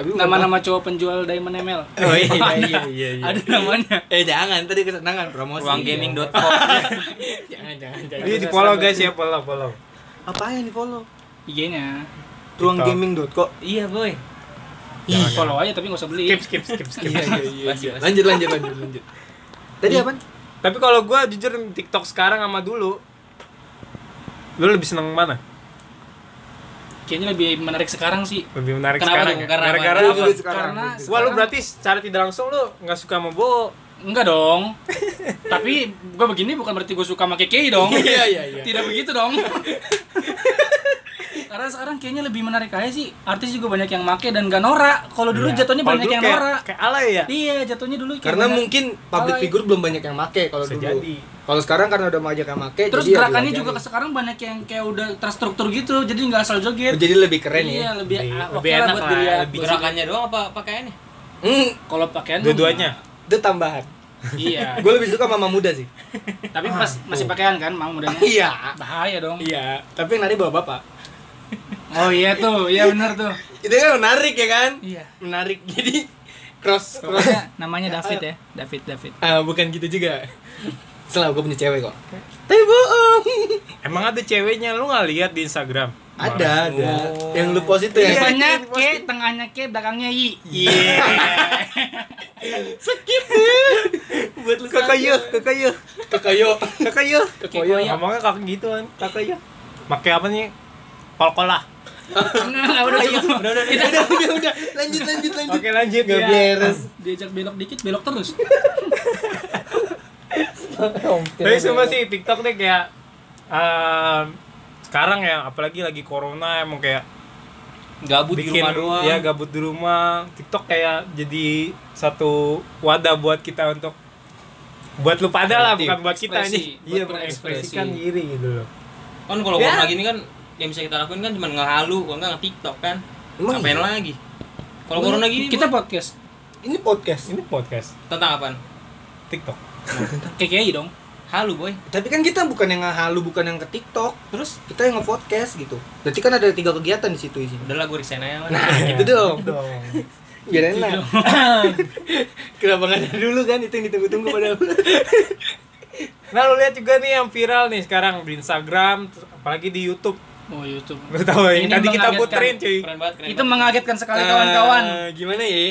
Speaker 2: Tapi bukan-
Speaker 4: Nama-nama cowok penjual Diamond ML.
Speaker 2: Oh iya iya iya. iya.
Speaker 4: Ada namanya.
Speaker 2: Eh jangan tadi kesenangan promosi. Iya.
Speaker 5: Ruanggaming.com.
Speaker 2: Jangan jangan
Speaker 1: Jadi
Speaker 2: jangan.
Speaker 1: di follow guys ya, follow, follow
Speaker 2: Apa yang di follow?
Speaker 4: IG-nya.
Speaker 2: Ruanggaming.co.
Speaker 5: Iya boy.
Speaker 4: Ih, follow aja tapi gak usah beli.
Speaker 1: Skip, skip, skip, skip
Speaker 2: Iya iya iya.
Speaker 5: Basi,
Speaker 2: iya.
Speaker 5: basi.
Speaker 2: Lanjut lanjut lanjut lanjut. Tadi apa?
Speaker 1: Tapi kalau gue jujur TikTok sekarang sama dulu Lu lebih seneng mana?
Speaker 4: Kayaknya lebih menarik sekarang sih.
Speaker 1: Lebih menarik
Speaker 5: Kenapa
Speaker 1: sekarang
Speaker 5: tuh?
Speaker 1: ya?
Speaker 5: Karena apa?
Speaker 1: Gara-gara
Speaker 2: Lu
Speaker 1: apa?
Speaker 2: dulu sekarang.
Speaker 4: Karena
Speaker 2: Lu dulu.
Speaker 1: Wah lu
Speaker 4: Sekarang-
Speaker 1: berarti secara tidak langsung lu nggak suka sama Bo
Speaker 4: Enggak dong. Tapi gue begini bukan berarti gue suka sama KKI dong.
Speaker 2: Iya iya iya.
Speaker 4: Tidak begitu dong. Karena sekarang kayaknya lebih menarik aja sih. Artis juga banyak yang make dan gak norak. Kalau dulu jatuhnya
Speaker 1: Iya. Kalau
Speaker 4: banyak
Speaker 1: dulu
Speaker 4: yang
Speaker 1: kayak-
Speaker 4: norak.
Speaker 1: Kayak alay ya?
Speaker 4: Iya, jatuhnya dulu kayak
Speaker 2: Karena
Speaker 4: banyak-
Speaker 2: mungkin public
Speaker 4: Alay.
Speaker 2: figure belum banyak yang make kalau
Speaker 1: Bisa
Speaker 2: dulu.
Speaker 1: jadi.
Speaker 2: Kalau sekarang karena udah banyak yang make
Speaker 4: terus
Speaker 2: jadi ya
Speaker 4: gerakannya juga
Speaker 2: dilayani.
Speaker 4: ke sekarang banyak yang kayak udah terstruktur gitu. Jadi nggak asal
Speaker 2: Oh,
Speaker 4: joget.
Speaker 2: jadi lebih keren
Speaker 4: iya,
Speaker 2: ya.
Speaker 4: lebih
Speaker 1: Lebih-
Speaker 4: ah, oke
Speaker 1: lebih
Speaker 4: lah
Speaker 1: enak
Speaker 4: buat
Speaker 5: ya,
Speaker 1: lah,
Speaker 4: dilihat.
Speaker 1: lebih-
Speaker 5: Gerakannya doang apa pakaiannya?
Speaker 2: Hmm,
Speaker 4: Kalau pakaian
Speaker 1: Dua-duanya?
Speaker 2: itu tambahan.
Speaker 4: Iya.
Speaker 2: Gue lebih suka mama muda sih.
Speaker 4: Tapi pas masih pakaian kan, mau mudanya.
Speaker 2: Iya.
Speaker 4: Bahaya dong.
Speaker 2: Iya, tapi yang nari bawa bapak.
Speaker 4: Oh iya tuh, iya benar tuh.
Speaker 2: Itu kan menarik ya kan?
Speaker 4: Iya.
Speaker 2: Menarik. Jadi cross cross.
Speaker 5: Iya.
Speaker 4: Pokoknya namanya David ya, David David.
Speaker 2: Ah, bukan gitu juga.
Speaker 5: Iya.
Speaker 2: Selama gue punya cewek kok. Tapi bohong.
Speaker 1: Emang ada ceweknya lu nggak lihat di Instagram?
Speaker 2: Ada, ada.
Speaker 5: Oh.
Speaker 2: Yang lu post itu ya.
Speaker 4: Depannya K, tengahnya K, belakangnya I.
Speaker 5: buat lu
Speaker 1: Kakayo, kakayo,
Speaker 2: Kekayo.
Speaker 1: kakayo.
Speaker 4: Kakayo.
Speaker 1: Oh Ngomongnya kakak gitu kan, kakayo. Pakai apa nih? Kol-kolah.
Speaker 4: Enggak, enggak, udah cukup.
Speaker 5: udah udah udah.
Speaker 2: Udah, udah, udah. Lanjut, lanjut, lanjut.
Speaker 1: Oke lanjut.
Speaker 5: Iya.
Speaker 1: Iya.
Speaker 2: Gak beres.
Speaker 4: Diajak belok dikit, belok terus.
Speaker 1: Tapi semua sih TikTok deh kayak em, sekarang ya, apalagi lagi corona emang kayak
Speaker 5: Gabut di
Speaker 1: bikin
Speaker 5: rumah doang.
Speaker 1: ya gabut di rumah. TikTok kayak jadi satu wadah buat kita untuk buat lu pada lah
Speaker 5: Kreatif.
Speaker 1: bukan buat kita
Speaker 4: Ekspresi,
Speaker 1: nih
Speaker 4: buat
Speaker 1: iya
Speaker 4: berekspresi.
Speaker 1: mengekspresikan diri gitu loh
Speaker 5: Kan kalau
Speaker 1: Ya.
Speaker 5: corona gini kan yang bisa kita lakuin kan cuma ngehalu, kalau enggak nge-TikTok kan.
Speaker 2: Emang
Speaker 5: Ngapain
Speaker 2: iya?
Speaker 5: lagi? Kalau corona gini
Speaker 4: Kita
Speaker 5: buat-
Speaker 4: podcast.
Speaker 2: Ini podcast.
Speaker 1: ini podcast
Speaker 5: tentang apaan?
Speaker 1: TikTok
Speaker 4: KKI dong.
Speaker 5: Halu, boy.
Speaker 2: Tapi kan kita bukan yang ngehalu, bukan yang ke TikTok. Terus kita yang nge-podcast gitu. Berarti kan ada tiga kegiatan di situ isinya.
Speaker 5: Udahlah gue resign aja lah.
Speaker 2: Nah, gitu dong. Biar enak. Gitu Kenapa nggak ada dulu kan? Itu yang ditunggu-tunggu padahal.
Speaker 1: nah lu lihat juga nih yang viral nih sekarang di Instagram terus apalagi di YouTube
Speaker 4: Oh, YouTube.
Speaker 1: lu tahu ya,
Speaker 4: Ini
Speaker 1: tadi kita
Speaker 4: mengagetkan.
Speaker 1: puterin cuy
Speaker 5: Keren banget, keren.
Speaker 4: Itu
Speaker 5: banget.
Speaker 4: mengagetkan sekali kawan-kawan.
Speaker 2: Eh, gimana ya?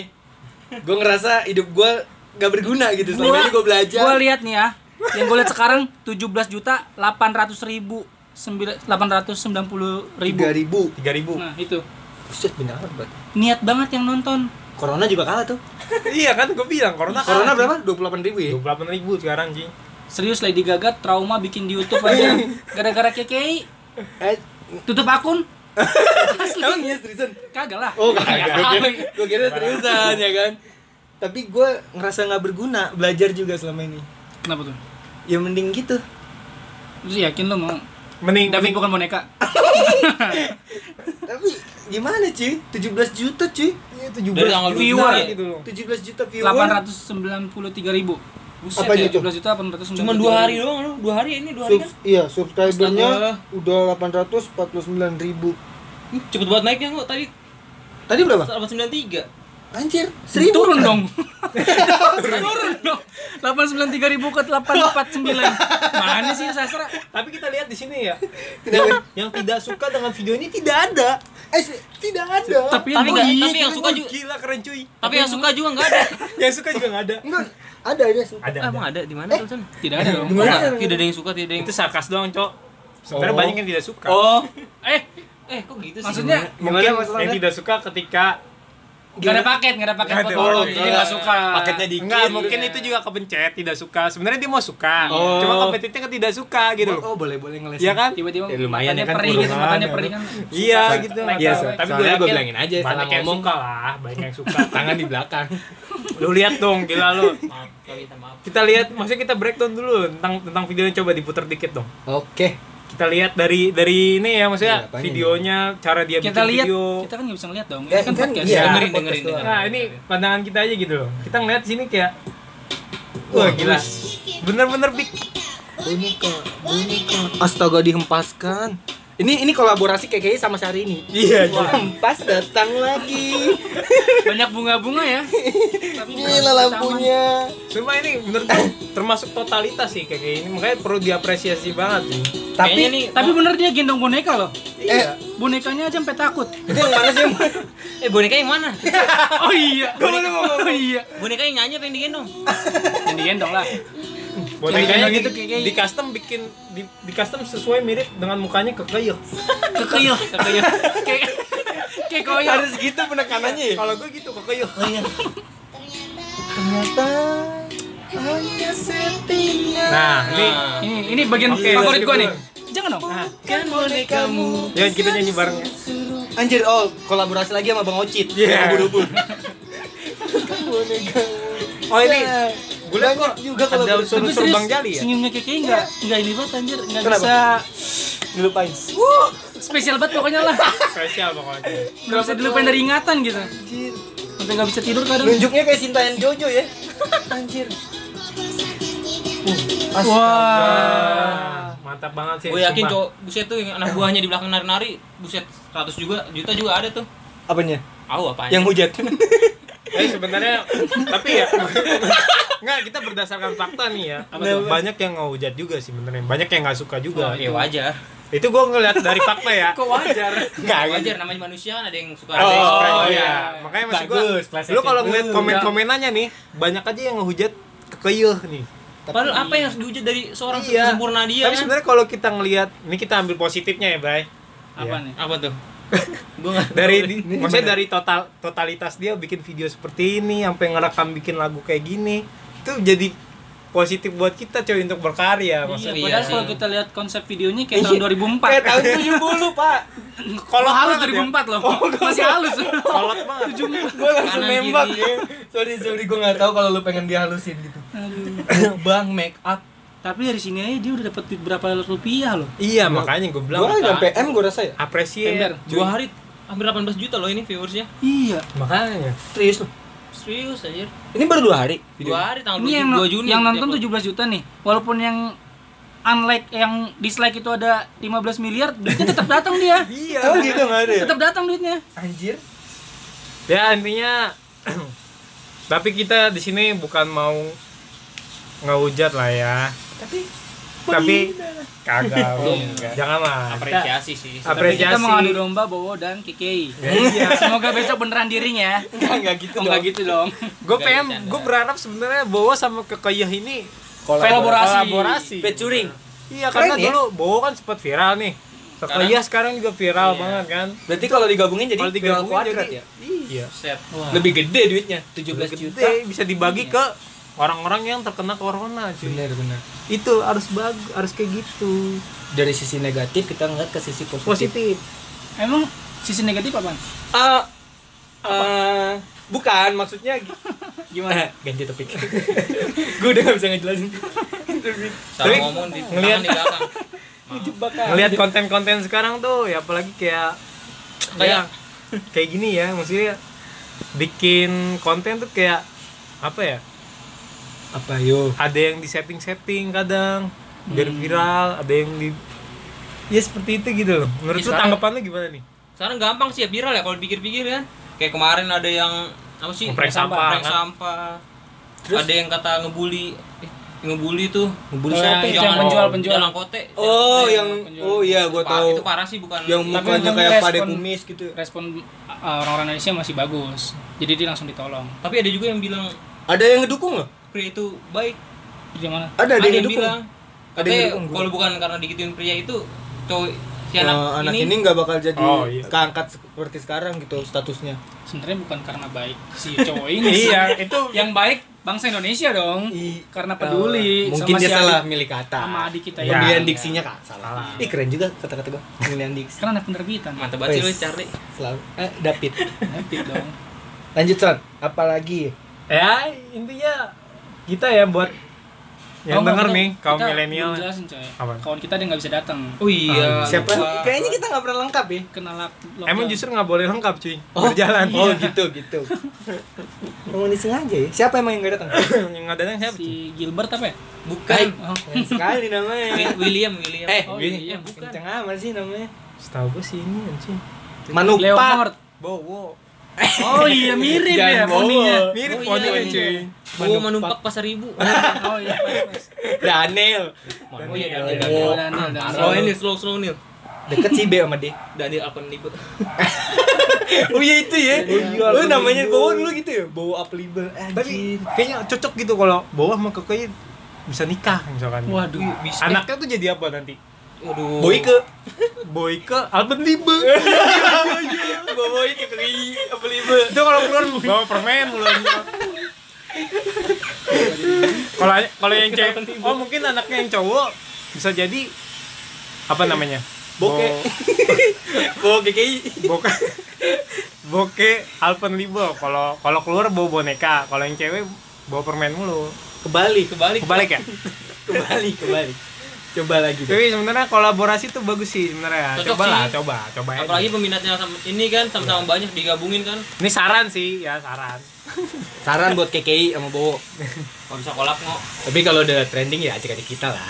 Speaker 2: Gue ngerasa hidup gue gak berguna gitu. Selama ini gue belajar.
Speaker 4: Gua lihat nih ya. Yang gue lihat sekarang 17 juta 800 ribu 890 ribu.
Speaker 2: 3000 ribu.
Speaker 1: tiga ribu
Speaker 4: Nah, itu.
Speaker 2: Buset, benar banget.
Speaker 4: Niat banget yang nonton.
Speaker 2: Corona juga kalah tuh.
Speaker 1: iya kan gue bilang corona
Speaker 2: Nah, Corona berapa? 28 ribu ya?
Speaker 1: dua puluh ribu sekarang Ji.
Speaker 4: Serius Lady Gaga trauma bikin di YouTube aja gara-gara KKI
Speaker 2: Eh,
Speaker 4: tutup akun.
Speaker 2: emang iya seriusan?
Speaker 4: Kagak lah.
Speaker 2: Oh, kagak. Gue kira seriusan ya kan. Tapi gue ngerasa nggak berguna belajar juga selama ini.
Speaker 4: Kenapa tuh?
Speaker 2: Ya mending gitu.
Speaker 4: Lu sih yakin lu mau?
Speaker 1: mending
Speaker 4: David bukan boneka.
Speaker 2: Tapi gimana cuy? 17 juta cuy.
Speaker 1: tujuh
Speaker 5: Dari tanggal
Speaker 4: viewer.
Speaker 1: gitu loh
Speaker 2: 17 juta viewer.
Speaker 4: 893 ribu.
Speaker 5: Buset
Speaker 2: Apanya
Speaker 5: ya.
Speaker 2: tuh?
Speaker 4: 17 juta 890.
Speaker 5: Cuma dua hari doang lu. Dua hari ini, dua hari kan.
Speaker 2: Subs- iya, subscribernya
Speaker 5: Astaga.
Speaker 2: udah 849 ribu.
Speaker 5: Ih, Hmm, Cepet banget naiknya kok tadi
Speaker 2: Tadi berapa?
Speaker 5: 893.
Speaker 2: Anjir, seribu.
Speaker 4: Turun dong. Turun dong. 893 ribu ke 849. Mana sih sastra?
Speaker 1: tapi kita lihat di sini ya
Speaker 2: Tidak,
Speaker 1: yang tidak suka dengan video ini tidak ada
Speaker 2: eh, se- tidak ada.
Speaker 1: Iya,
Speaker 4: Tapi yang
Speaker 5: Tapi enggak,
Speaker 4: bunyi.
Speaker 5: tapi yang suka juga.
Speaker 1: gila keren cuy
Speaker 5: Tapi yang suka juga enggak ada.
Speaker 1: yang suka juga nggak ada
Speaker 2: Enggak, ada ada.
Speaker 1: ada,
Speaker 5: Ah, Emang
Speaker 1: ada. iya.
Speaker 5: ada di mana
Speaker 2: Eh.
Speaker 5: tulisan?
Speaker 4: Tidak ada dong.
Speaker 2: Gimana?
Speaker 5: Enggak, tidak ada yang suka, tidak ada yang
Speaker 1: itu sarkas doang cok sebenarnya
Speaker 2: Oh.
Speaker 1: banyak yang tidak suka
Speaker 5: Oh. Eh, eh kok gitu sih?
Speaker 4: Maksudnya
Speaker 1: mungkin
Speaker 2: Gimana maksudnya?
Speaker 1: yang tidak suka ketika
Speaker 4: nggak ada paket, nggak ada paket
Speaker 1: Nggak ada
Speaker 4: foto.
Speaker 1: paket.
Speaker 4: Jadi nggak suka.
Speaker 2: Paketnya dikit.
Speaker 1: enggak mungkin itu juga kepencet tidak suka sebenarnya dia mau suka
Speaker 2: Oh.
Speaker 1: cuma kepencetnya kan tidak suka gitu loh
Speaker 2: Oh, boleh boleh ngeles.
Speaker 1: Iya kan?
Speaker 4: Tiba-tiba
Speaker 2: Ya, lumayan ya
Speaker 4: matanya
Speaker 2: kan,
Speaker 4: perih gitu,
Speaker 2: kurungan,
Speaker 4: matanya
Speaker 2: ya
Speaker 4: perih kan.
Speaker 1: iya gitu
Speaker 2: Iya,
Speaker 1: Makanya-
Speaker 2: so- soalnya gua
Speaker 1: yakin
Speaker 2: bilangin aja, salah
Speaker 1: banyak yang
Speaker 2: ngomong.
Speaker 1: suka lah banyak yang suka
Speaker 2: Tangan di belakang.
Speaker 1: lu lihat dong gila lu
Speaker 5: Maaf, nggak bisa, maaf.
Speaker 1: kita lihat maksudnya kita breakdown dulu tentang tentang videonya coba diputar dikit dong
Speaker 2: Oke.
Speaker 1: kita lihat dari dari ini ya
Speaker 2: Iya,
Speaker 1: maksudnya
Speaker 2: apanya
Speaker 1: videonya cara dia
Speaker 4: Kita
Speaker 1: bikin
Speaker 4: lihat,
Speaker 1: video
Speaker 4: kita kan nggak bisa ngeliat dong.
Speaker 2: Ya,
Speaker 4: Ini kan
Speaker 2: kan
Speaker 4: podcast.
Speaker 2: iya.
Speaker 5: dengerin,
Speaker 2: podcast
Speaker 5: dengerin,
Speaker 2: doang.
Speaker 5: dengerin.
Speaker 1: nah ini pandangan kita aja gitu loh kita ngeliat sini kayak wah gila bener-bener big
Speaker 2: Boneka, boneka. Astaga dihempaskan. Ini ini kolaborasi KKI sama Syahrini.
Speaker 1: Iya,
Speaker 2: Wah, Hempas datang lagi.
Speaker 4: Banyak bunga-bunga ya. Tapi
Speaker 2: Gila lampunya.
Speaker 1: cuma ini menurut gue termasuk totalitas sih kayak- kayak ini makanya perlu diapresiasi banget sih
Speaker 5: Kayaknya
Speaker 2: Tapi
Speaker 5: nih,
Speaker 4: Tapi bener dia gendong boneka loh.
Speaker 2: eh
Speaker 4: Bonekanya aja sampai takut.
Speaker 2: itu yang mana sih?
Speaker 5: eh boneka yang mana?
Speaker 4: Oh iya. Oh iya.
Speaker 5: boneka yang nyanyi apa yang digendong?
Speaker 4: Yang digendong lah.
Speaker 1: bonekanya
Speaker 4: Kayak gitu,
Speaker 1: gitu
Speaker 4: kayak- kayak-
Speaker 1: di custom bikin di, di custom sesuai mirip dengan mukanya ke iya. kayu
Speaker 4: Kekeyuh, kekeyuh. Kayak kayak koyo.
Speaker 2: Harus gitu penekanannya ya?
Speaker 1: kalau gue gitu ke kayu
Speaker 2: Ternyata hanya settingan.
Speaker 1: nah ini
Speaker 5: Nah,
Speaker 4: Ini ini bagian
Speaker 1: Oke, skip
Speaker 4: favorit gua
Speaker 1: dulu.
Speaker 4: nih. Jangan dong.
Speaker 1: nah
Speaker 2: kan bonekamu.
Speaker 1: ya kita nyanyi bareng
Speaker 2: Anjir, oh kolaborasi lagi sama Bang Ocit.
Speaker 1: Iya.
Speaker 2: Ubur-ubur. kan bonekamu.
Speaker 1: Oh, ini.
Speaker 2: Ya.
Speaker 1: gue liat kok
Speaker 2: juga
Speaker 1: ada
Speaker 2: kolaborasi.
Speaker 4: Tapi
Speaker 1: unsur-unsur
Speaker 4: serius,
Speaker 1: bang jali ya
Speaker 4: Senyumnya Kiki enggak enggak ini banget anjir, enggak
Speaker 2: Iya. Kenapa?
Speaker 4: bisa
Speaker 2: Dilupain.
Speaker 4: spesial banget pokoknya lah.
Speaker 1: spesial pokoknya
Speaker 4: Enggak bisa dilupain dari ingatan gitu.
Speaker 2: Anjir.
Speaker 4: Sampai enggak bisa tidur kadang.
Speaker 2: Nunjuknya kayak Sinta and Jojo ya. Anjir.
Speaker 4: Ah.
Speaker 1: Wah, Ah, mantap banget sih.
Speaker 5: gue yakin
Speaker 1: sumpah.
Speaker 5: cowok buset tuh yang anak buahnya di belakang nari-nari buset 100 juga juta juga ada tuh.
Speaker 2: Apanya?
Speaker 5: Au apaan?
Speaker 2: Yang hujat.
Speaker 1: Eh sebenarnya tapi ya Enggak, kita berdasarkan fakta nih ya.
Speaker 2: tuh?
Speaker 1: Banyak yang ngehujat juga sih sebenarnya. Banyak yang nggak suka juga.
Speaker 5: ya wajar.
Speaker 1: Itu gue ngeliat dari fakta ya.
Speaker 4: Kok wajar?
Speaker 1: Nggak,
Speaker 5: wajar namanya manusia kan ada yang suka ada yang
Speaker 1: Oh,
Speaker 5: suka.
Speaker 1: iya.
Speaker 4: iya.
Speaker 1: Makanya maksud
Speaker 6: Bagus,
Speaker 1: gue,
Speaker 6: kelas
Speaker 1: lu kalau
Speaker 6: action.
Speaker 1: ngeliat
Speaker 6: Lu.
Speaker 1: komen-komenannya nih, banyak aja yang ngehujat kekeyuh nih.
Speaker 5: Padahal apa yang harus diuji dari seorang
Speaker 1: Iya.
Speaker 5: sempurna dia
Speaker 1: Tapi
Speaker 5: kan?
Speaker 1: sebenarnya kalau kita ngelihat, ini kita ambil positifnya ya, Bray.
Speaker 4: Apa
Speaker 1: Iya.
Speaker 4: nih?
Speaker 5: Apa tuh? Gua nggak
Speaker 1: Dari maksudnya dari total totalitas dia bikin video seperti ini, sampai ngerekam bikin lagu kayak gini, itu jadi positif buat kita coy untuk berkarya
Speaker 4: Iya,
Speaker 1: maksudnya. Eh,
Speaker 5: Iya
Speaker 4: padahal
Speaker 5: sih.
Speaker 4: kalau kita lihat konsep videonya kayak tahun 2004.
Speaker 2: Kayak tahun 70, Pak.
Speaker 4: Kalau halus
Speaker 1: banget ya.
Speaker 4: 2004 loh. Masih halus.
Speaker 1: Kolot banget.
Speaker 2: Gue langsung
Speaker 5: Kanan,
Speaker 2: nembak.
Speaker 5: kiri.
Speaker 2: Sorry, sorry gue gak tahu kalau lu pengen dihalusin gitu.
Speaker 4: Aduh.
Speaker 2: Bang make up.
Speaker 4: Tapi dari sini aja dia udah dapat duit berapa rupiah loh.
Speaker 1: Iya, makanya gue bilang
Speaker 2: Gue udah PM gue rasa ya.
Speaker 1: apresiasi.
Speaker 4: Ember.
Speaker 5: dua hari hampir 18 juta loh ini viewersnya.
Speaker 4: Iya.
Speaker 1: Makanya.
Speaker 2: Serius lu.
Speaker 5: Serius anjir.
Speaker 2: Ini baru dua hari.
Speaker 5: Dua hari tanggal
Speaker 4: Ini yang
Speaker 5: 22 Juni. Ya,
Speaker 4: yang nonton 17 juta nih. Walaupun yang unlike yang dislike itu ada 15 miliar, duitnya tetap datang dia.
Speaker 2: Iya. Oh gitu gak ada ya?
Speaker 4: Tetap datang duitnya.
Speaker 2: Anjir.
Speaker 1: ya intinya tapi kita di sini bukan mau ngehujat lah ya
Speaker 2: Tapi
Speaker 1: tapi kagak
Speaker 4: Iya.
Speaker 1: jangan lah
Speaker 5: apresiasi sih.
Speaker 4: Tapi
Speaker 1: apresiasi
Speaker 4: kita mengadu domba Bowo dan Kiki. Semoga besok beneran diring ya.
Speaker 2: enggak enggak gitu
Speaker 4: Oh,
Speaker 2: dong.
Speaker 4: Enggak gitu dong.
Speaker 1: gue
Speaker 5: Enggak,
Speaker 1: pengen
Speaker 5: bercanda.
Speaker 1: gue berharap sebenarnya Bowo sama kekayah ini
Speaker 4: Kolaborasi.
Speaker 1: kolaborasi.
Speaker 2: Featuring.
Speaker 1: iya
Speaker 2: Keren
Speaker 1: karena
Speaker 2: ya?
Speaker 1: dulu Bowo kan sempat viral nih kekayah sekarang juga viral
Speaker 5: Iya.
Speaker 1: banget kan
Speaker 2: Berarti kalau digabungin jadi
Speaker 1: kalau tiga
Speaker 2: viral kuadrat ya.
Speaker 1: iya
Speaker 5: Set.
Speaker 4: Wah.
Speaker 2: Lebih gede duitnya, 17 juta.
Speaker 1: gede bisa dibagi ke orang-orang yang terkena corona cuy
Speaker 2: Bener bener.
Speaker 1: itu harus bagus harus kayak gitu
Speaker 2: Dari sisi negatif kita ngeliat ke sisi positif.
Speaker 1: positif
Speaker 4: Emang sisi negatif apa?
Speaker 2: Ah, ah, bukan maksudnya gi-
Speaker 4: Gimana?
Speaker 2: Eh, ganti topik. gue udah gak bisa ngejelasin. Topik.
Speaker 5: Salah
Speaker 1: Tapi
Speaker 5: ngomong di
Speaker 1: ngeliat-
Speaker 5: tangan di belakang.
Speaker 2: Jebakan.
Speaker 1: ngelihat konten-konten sekarang tuh ya apalagi kayak kayak
Speaker 2: Iya.
Speaker 5: Kayak-
Speaker 1: kayak gini ya maksudnya bikin konten tuh kayak apa ya
Speaker 2: apa yo?
Speaker 1: ada yang di setting-setting kadang biar viral ada yang di ya seperti itu gitu loh menurut
Speaker 5: Ih,
Speaker 1: lu
Speaker 5: sekarang-
Speaker 1: tanggapan lu gimana nih
Speaker 5: Sekarang gampang sih ya viral ya kalau dipikir-pikir kan. Kayak kemarin ada yang apa sih?
Speaker 1: Ngeprank sampah,
Speaker 5: Ngeprank
Speaker 1: kan?
Speaker 5: sampah. Ada yang kata ngebully eh, ngebully tuh
Speaker 2: Ngebully
Speaker 5: Eh,
Speaker 2: siapa?
Speaker 4: Itu
Speaker 5: jangan-
Speaker 4: yang penjual-penjual.
Speaker 5: jalan kote
Speaker 2: Oh,
Speaker 5: Jangan-
Speaker 2: yang oh iya gue
Speaker 5: itu, parah,
Speaker 2: tahu.
Speaker 5: itu parah sih bukan
Speaker 2: Yang
Speaker 5: Tapi
Speaker 2: mukanya
Speaker 4: memang
Speaker 2: kayak pade
Speaker 4: respon-
Speaker 2: kumis gitu.
Speaker 4: Respon uh, orang-orang Indonesia masih bagus. Jadi dia langsung ditolong.
Speaker 5: tapi ada juga yang bilang
Speaker 2: Ada yang ngedukung loh.
Speaker 5: pria itu baik
Speaker 4: Jadi mana?
Speaker 2: Ada,
Speaker 5: ada,
Speaker 2: ada yang
Speaker 5: yang
Speaker 2: ngedukung.
Speaker 5: bilang
Speaker 2: Ada yang
Speaker 5: katanya
Speaker 2: ngedukung gua.
Speaker 5: kalau bukan karena dikitin pria itu cowok si
Speaker 2: Eh,
Speaker 5: anak,
Speaker 2: anak
Speaker 5: ini,
Speaker 2: ini nggak bakal jadi
Speaker 1: Oh, iya.
Speaker 2: keangkat seperti sekarang gitu statusnya.
Speaker 4: Sebenarnya bukan karena baik si cowok ini. sih.
Speaker 1: iya itu
Speaker 4: Yang baik bangsa Indonesia dong.
Speaker 2: I- Eh,
Speaker 4: Karena peduli
Speaker 2: mungkin
Speaker 4: sama
Speaker 2: dia
Speaker 4: si
Speaker 2: salah
Speaker 4: adik-
Speaker 2: milih kata.
Speaker 4: sama adik kita
Speaker 1: ya.
Speaker 2: Pemilihan
Speaker 1: Iya.
Speaker 2: diksinya kak salah.
Speaker 1: Salah.
Speaker 2: Ih keren juga kata-kata gua. Pemilihan diksi.
Speaker 4: Karena anak penerbitan.
Speaker 5: mantap banget sih lu
Speaker 2: Wes.
Speaker 5: Charlie
Speaker 2: Selalu. Eh, David.
Speaker 4: Mantap dong.
Speaker 2: Lanjut son. Apalagi?
Speaker 1: ya intinya kita ya buat yang
Speaker 4: Oh,
Speaker 1: denger
Speaker 4: kita-
Speaker 1: nih kaum
Speaker 4: kita
Speaker 1: milenial
Speaker 4: belum Jelasin coy.
Speaker 1: Apa?
Speaker 4: Kawan kita dia nggak bisa datang.
Speaker 5: oh iya
Speaker 1: Siapa?
Speaker 5: lupa.
Speaker 2: Kayaknya kita nggak pernah lengkap ya.
Speaker 4: Kena lap.
Speaker 1: emang
Speaker 4: lockdown.
Speaker 1: justru nggak boleh lengkap cuy berjalan
Speaker 2: Oh gitu gitu. Mau disengaja ya? Siapa emang yang nggak datang?
Speaker 1: yang nggak datang siapa cuy?
Speaker 4: si Gilbert apa ya?
Speaker 5: bukan
Speaker 4: Oh,
Speaker 2: Keren sekali namanya.
Speaker 5: Wi- William William
Speaker 2: Eh,
Speaker 4: oh
Speaker 1: Gini.
Speaker 4: iya.
Speaker 5: bukan
Speaker 2: kenceng amat sih namanya.
Speaker 1: setahu gue sih ini anjing
Speaker 2: Manupat.
Speaker 4: Oh, Leonard.
Speaker 1: Bowo
Speaker 4: Oh iya mirip ya
Speaker 2: Jangan bawa.
Speaker 4: poninya.
Speaker 1: mirip
Speaker 5: Oh, iya,
Speaker 1: fontnya
Speaker 5: iya.
Speaker 1: cuy
Speaker 5: Gua menumpak pasar ibu
Speaker 4: Oh iya. pas,
Speaker 2: Daniel.
Speaker 5: oh
Speaker 4: pas.
Speaker 5: iya Daniel
Speaker 4: Oh,
Speaker 5: Nah, Daniel.
Speaker 4: Daniel, Daniel.
Speaker 5: slow ini slow slow nih
Speaker 2: Deket sih B sama D.
Speaker 5: Daniel Alpenlibe
Speaker 2: Oh iya itu ya.
Speaker 1: iya,
Speaker 2: Lu namanya
Speaker 1: Alpenlibe.
Speaker 2: bawa dulu gitu ya. Bawa applicable.
Speaker 1: tapi
Speaker 2: Anjir.
Speaker 1: kayaknya cocok gitu kalau bawah sama kekei bisa nikah misalkan
Speaker 4: Waduh.
Speaker 1: anaknya tuh jadi apa nanti
Speaker 5: aduh
Speaker 2: Boyke.
Speaker 1: Boyke Alben Libe
Speaker 2: Bawa Boyke ke applicable.
Speaker 1: itu kalau keluar bawa permen lu kalau kalau yang cewek oh mungkin anaknya yang cowok bisa jadi apa namanya
Speaker 2: Boke. Bawa KKI.
Speaker 1: boke boke Alpen Libe kalau kalau keluar bawa boneka kalau yang cewek bawa permen mulu
Speaker 2: Kebalik.
Speaker 5: kebalik
Speaker 1: kebalik ya
Speaker 2: Kebalik. Kebalik. Coba lagi. deh.
Speaker 1: tapi sebenarnya kolaborasi tuh bagus sih sebenarnya
Speaker 5: Cocok
Speaker 1: coba lah
Speaker 5: sih.
Speaker 1: coba coba aja.
Speaker 5: apalagi peminatnya sama, ini kan sama-sama banyak digabungin kan
Speaker 1: Ini saran sih, ya saran.
Speaker 2: Saran buat KKI sama Bowo.
Speaker 5: kalau bisa kolab ngo
Speaker 2: Tapi kalau udah trending ya acak-acak kita lah.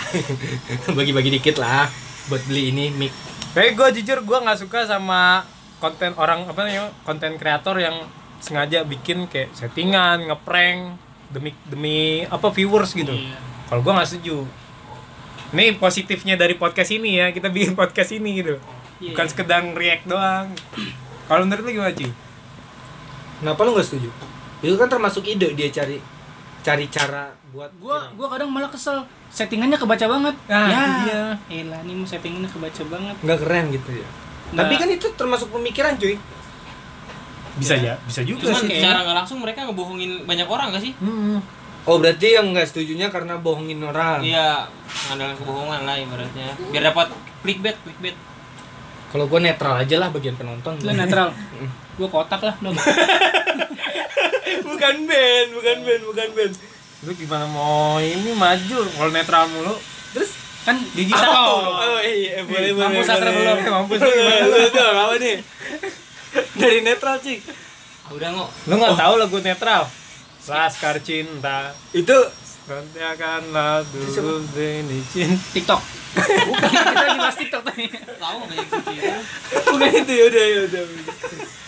Speaker 2: Bagi-bagi dikit lah buat beli ini mic.
Speaker 1: Tapi gue jujur gue nggak suka sama konten orang apa namanya konten kreator yang sengaja bikin kayak settingan, ngeprank demi demi apa viewers gitu.
Speaker 4: Iya.
Speaker 1: Kalau gue nggak setuju. Ini positifnya dari podcast ini ya, kita bikin podcast ini gitu.
Speaker 4: Iya.
Speaker 1: Bukan sekedar react doang. Kalau menurut lu gimana, Ci?
Speaker 2: Kenapa lu nggak setuju? Itu kan termasuk ide dia cari cari cara buat
Speaker 5: Gitu.
Speaker 4: gua gua kadang malah kesel settingannya kebaca banget
Speaker 1: Ah,
Speaker 4: ya
Speaker 1: iya.
Speaker 4: elah nih settingannya kebaca banget
Speaker 2: nggak keren gitu ya. Tapi
Speaker 4: Nggak.
Speaker 2: kan itu termasuk pemikiran cuy.
Speaker 1: Bisa ya, bisa juga
Speaker 5: Cuman
Speaker 1: sih.
Speaker 4: kayaknya.
Speaker 5: secara nggak langsung mereka ngebohongin banyak orang gak sih?
Speaker 1: Hmm.
Speaker 2: Oh berarti yang nggak setujunya karena bohongin orang.
Speaker 5: Iya, mengandalkan kebohongan lah ibaratnya. Biar dapat clickbait, clickbait.
Speaker 2: Kalau gua netral aja lah bagian penonton.
Speaker 4: lu netral gua kotak lah dong
Speaker 2: bukan band, bukan band, bukan band.
Speaker 1: Lu gimana mau ini maju kalau netral mulu?
Speaker 2: Terus
Speaker 4: kan
Speaker 1: Gigi oh.
Speaker 2: Oh iya, boleh boleh.
Speaker 1: Mampus sastra
Speaker 2: boleh.
Speaker 1: belum? Mampus lu gimana?
Speaker 2: Lu dong, apa nih? Dari netral sih.
Speaker 5: Ah, Udah ngok.
Speaker 1: Lu nggak tahu lagu netral? Laskar cinta,
Speaker 2: Itu
Speaker 1: Rontiakanlah dulu ini cinta.
Speaker 4: tiktok bukan kita lagi bahas tiktok tadi
Speaker 5: Tahu nggak banyak gitu.
Speaker 2: bukan itu ya udah ya udah.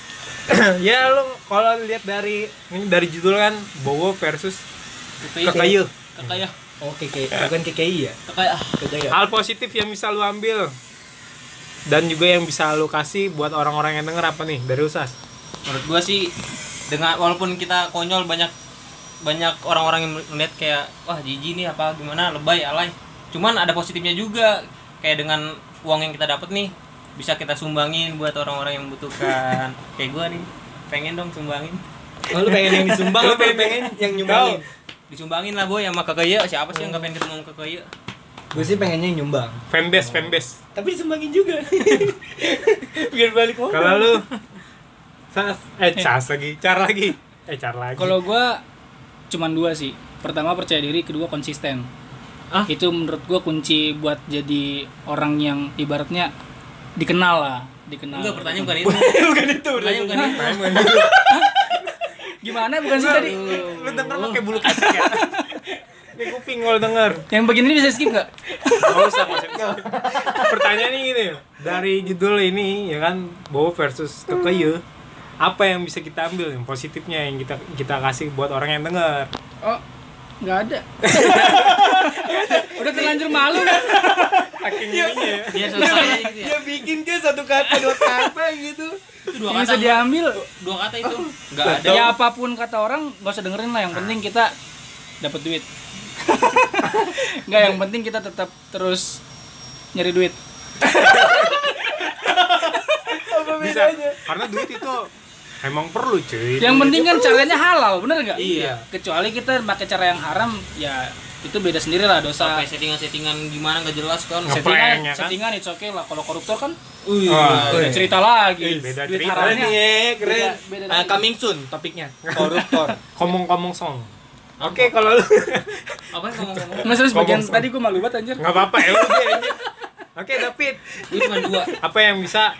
Speaker 1: ya lu kalau lihat dari ini dari judul kan Bowo versus
Speaker 5: Kekayaan.
Speaker 1: Kekayu.
Speaker 5: Kekayaan.
Speaker 2: Oke, Oh, bukan KKI ya?
Speaker 5: Kekayaan.
Speaker 2: KKI.
Speaker 1: Hal positif yang bisa lu ambil dan juga yang bisa lu kasih buat orang-orang yang denger apa nih dari Usas?
Speaker 5: menurut gua sih dengan walaupun kita konyol banyak banyak orang-orang yang melihat kayak wah jijik nih apa gimana lebay alay cuman ada positifnya juga kayak dengan uang yang kita dapat nih bisa kita sumbangin buat orang-orang yang membutuhkan kayak gua nih pengen dong sumbangin
Speaker 2: Oh, lu pengen yang disumbang, lu pengen yang nyumbangin.
Speaker 5: disumbangin lah boy sama kakaknya siapa sih yang gak pengen ketemu sama kakaknya
Speaker 2: Gue sih pengennya yang nyumbang.
Speaker 1: Fanbase, fanbase.
Speaker 2: Tapi disumbangin juga. Biar balik modal.
Speaker 1: Kalau lu Sas, eh Sas lagi, Car lagi. Eh Car lagi.
Speaker 4: kalau gua cuman dua sih pertama percaya diri kedua konsisten
Speaker 5: Ah.
Speaker 4: itu menurut gua kunci buat jadi orang yang ibaratnya dikenal lah dikenal
Speaker 5: enggak pertanyaan bukan itu
Speaker 2: Nah, bukan itu,
Speaker 5: pertanyaan bukan itu
Speaker 4: gimana bukan sih tadi
Speaker 1: lu denger pakai bulu kaki ya. Ini kuping kalau denger.
Speaker 4: yang bagian ini bisa skip nggak
Speaker 1: Gak usah, gak usah. Pertanyaannya gini, dari judul ini ya kan Bowo versus Kekeyu. Apa yang bisa kita ambil yang positifnya yang kita kita kasih buat orang yang denger?
Speaker 4: oh nggak ada udah terlanjur malu kan
Speaker 1: Saking ininya ya.
Speaker 5: dia selesai gitu ya
Speaker 2: Dia bikin ke satu kata dua kata gitu.
Speaker 5: itu dua
Speaker 4: yang
Speaker 5: kata
Speaker 4: bisa diambil
Speaker 5: dua kata itu enggak ada
Speaker 4: ya apapun kata orang nggak usah dengerin lah yang penting kita dapat duit nggak yang penting kita tetap terus nyari duit
Speaker 2: Apa
Speaker 1: Bisa. Karena duit itu emang perlu cuy.
Speaker 4: yang penting kan caranya halal bener nggak
Speaker 1: Iya.
Speaker 4: kecuali kita pakai cara yang haram ya itu beda sendiri lah dosa
Speaker 5: sampai settingan-settingan gimana nggak jelas kan
Speaker 1: Nge-
Speaker 4: settingan
Speaker 1: Ngeprank, ya kan?
Speaker 4: settingan itu oke lah kalau koruptor kan
Speaker 5: Wih,
Speaker 1: Wah,
Speaker 4: beda cerita lagi
Speaker 1: beda
Speaker 4: duit
Speaker 1: cerita.
Speaker 2: Keren
Speaker 4: haramnya
Speaker 2: ya, keren.
Speaker 4: Beda- beda
Speaker 2: Ah,
Speaker 4: lagi.
Speaker 2: coming soon topiknya. Koruptor.
Speaker 1: Komong-komong song. Oke, kalau lu
Speaker 5: apa yang kamu ngomong
Speaker 4: Mas terus bagian
Speaker 1: Ngomong sama-
Speaker 4: tadi gue malu banget anjir
Speaker 1: nggak apa-apa ya udah aja. Oke, David.
Speaker 5: gue cuma dua
Speaker 1: Apa yang bisa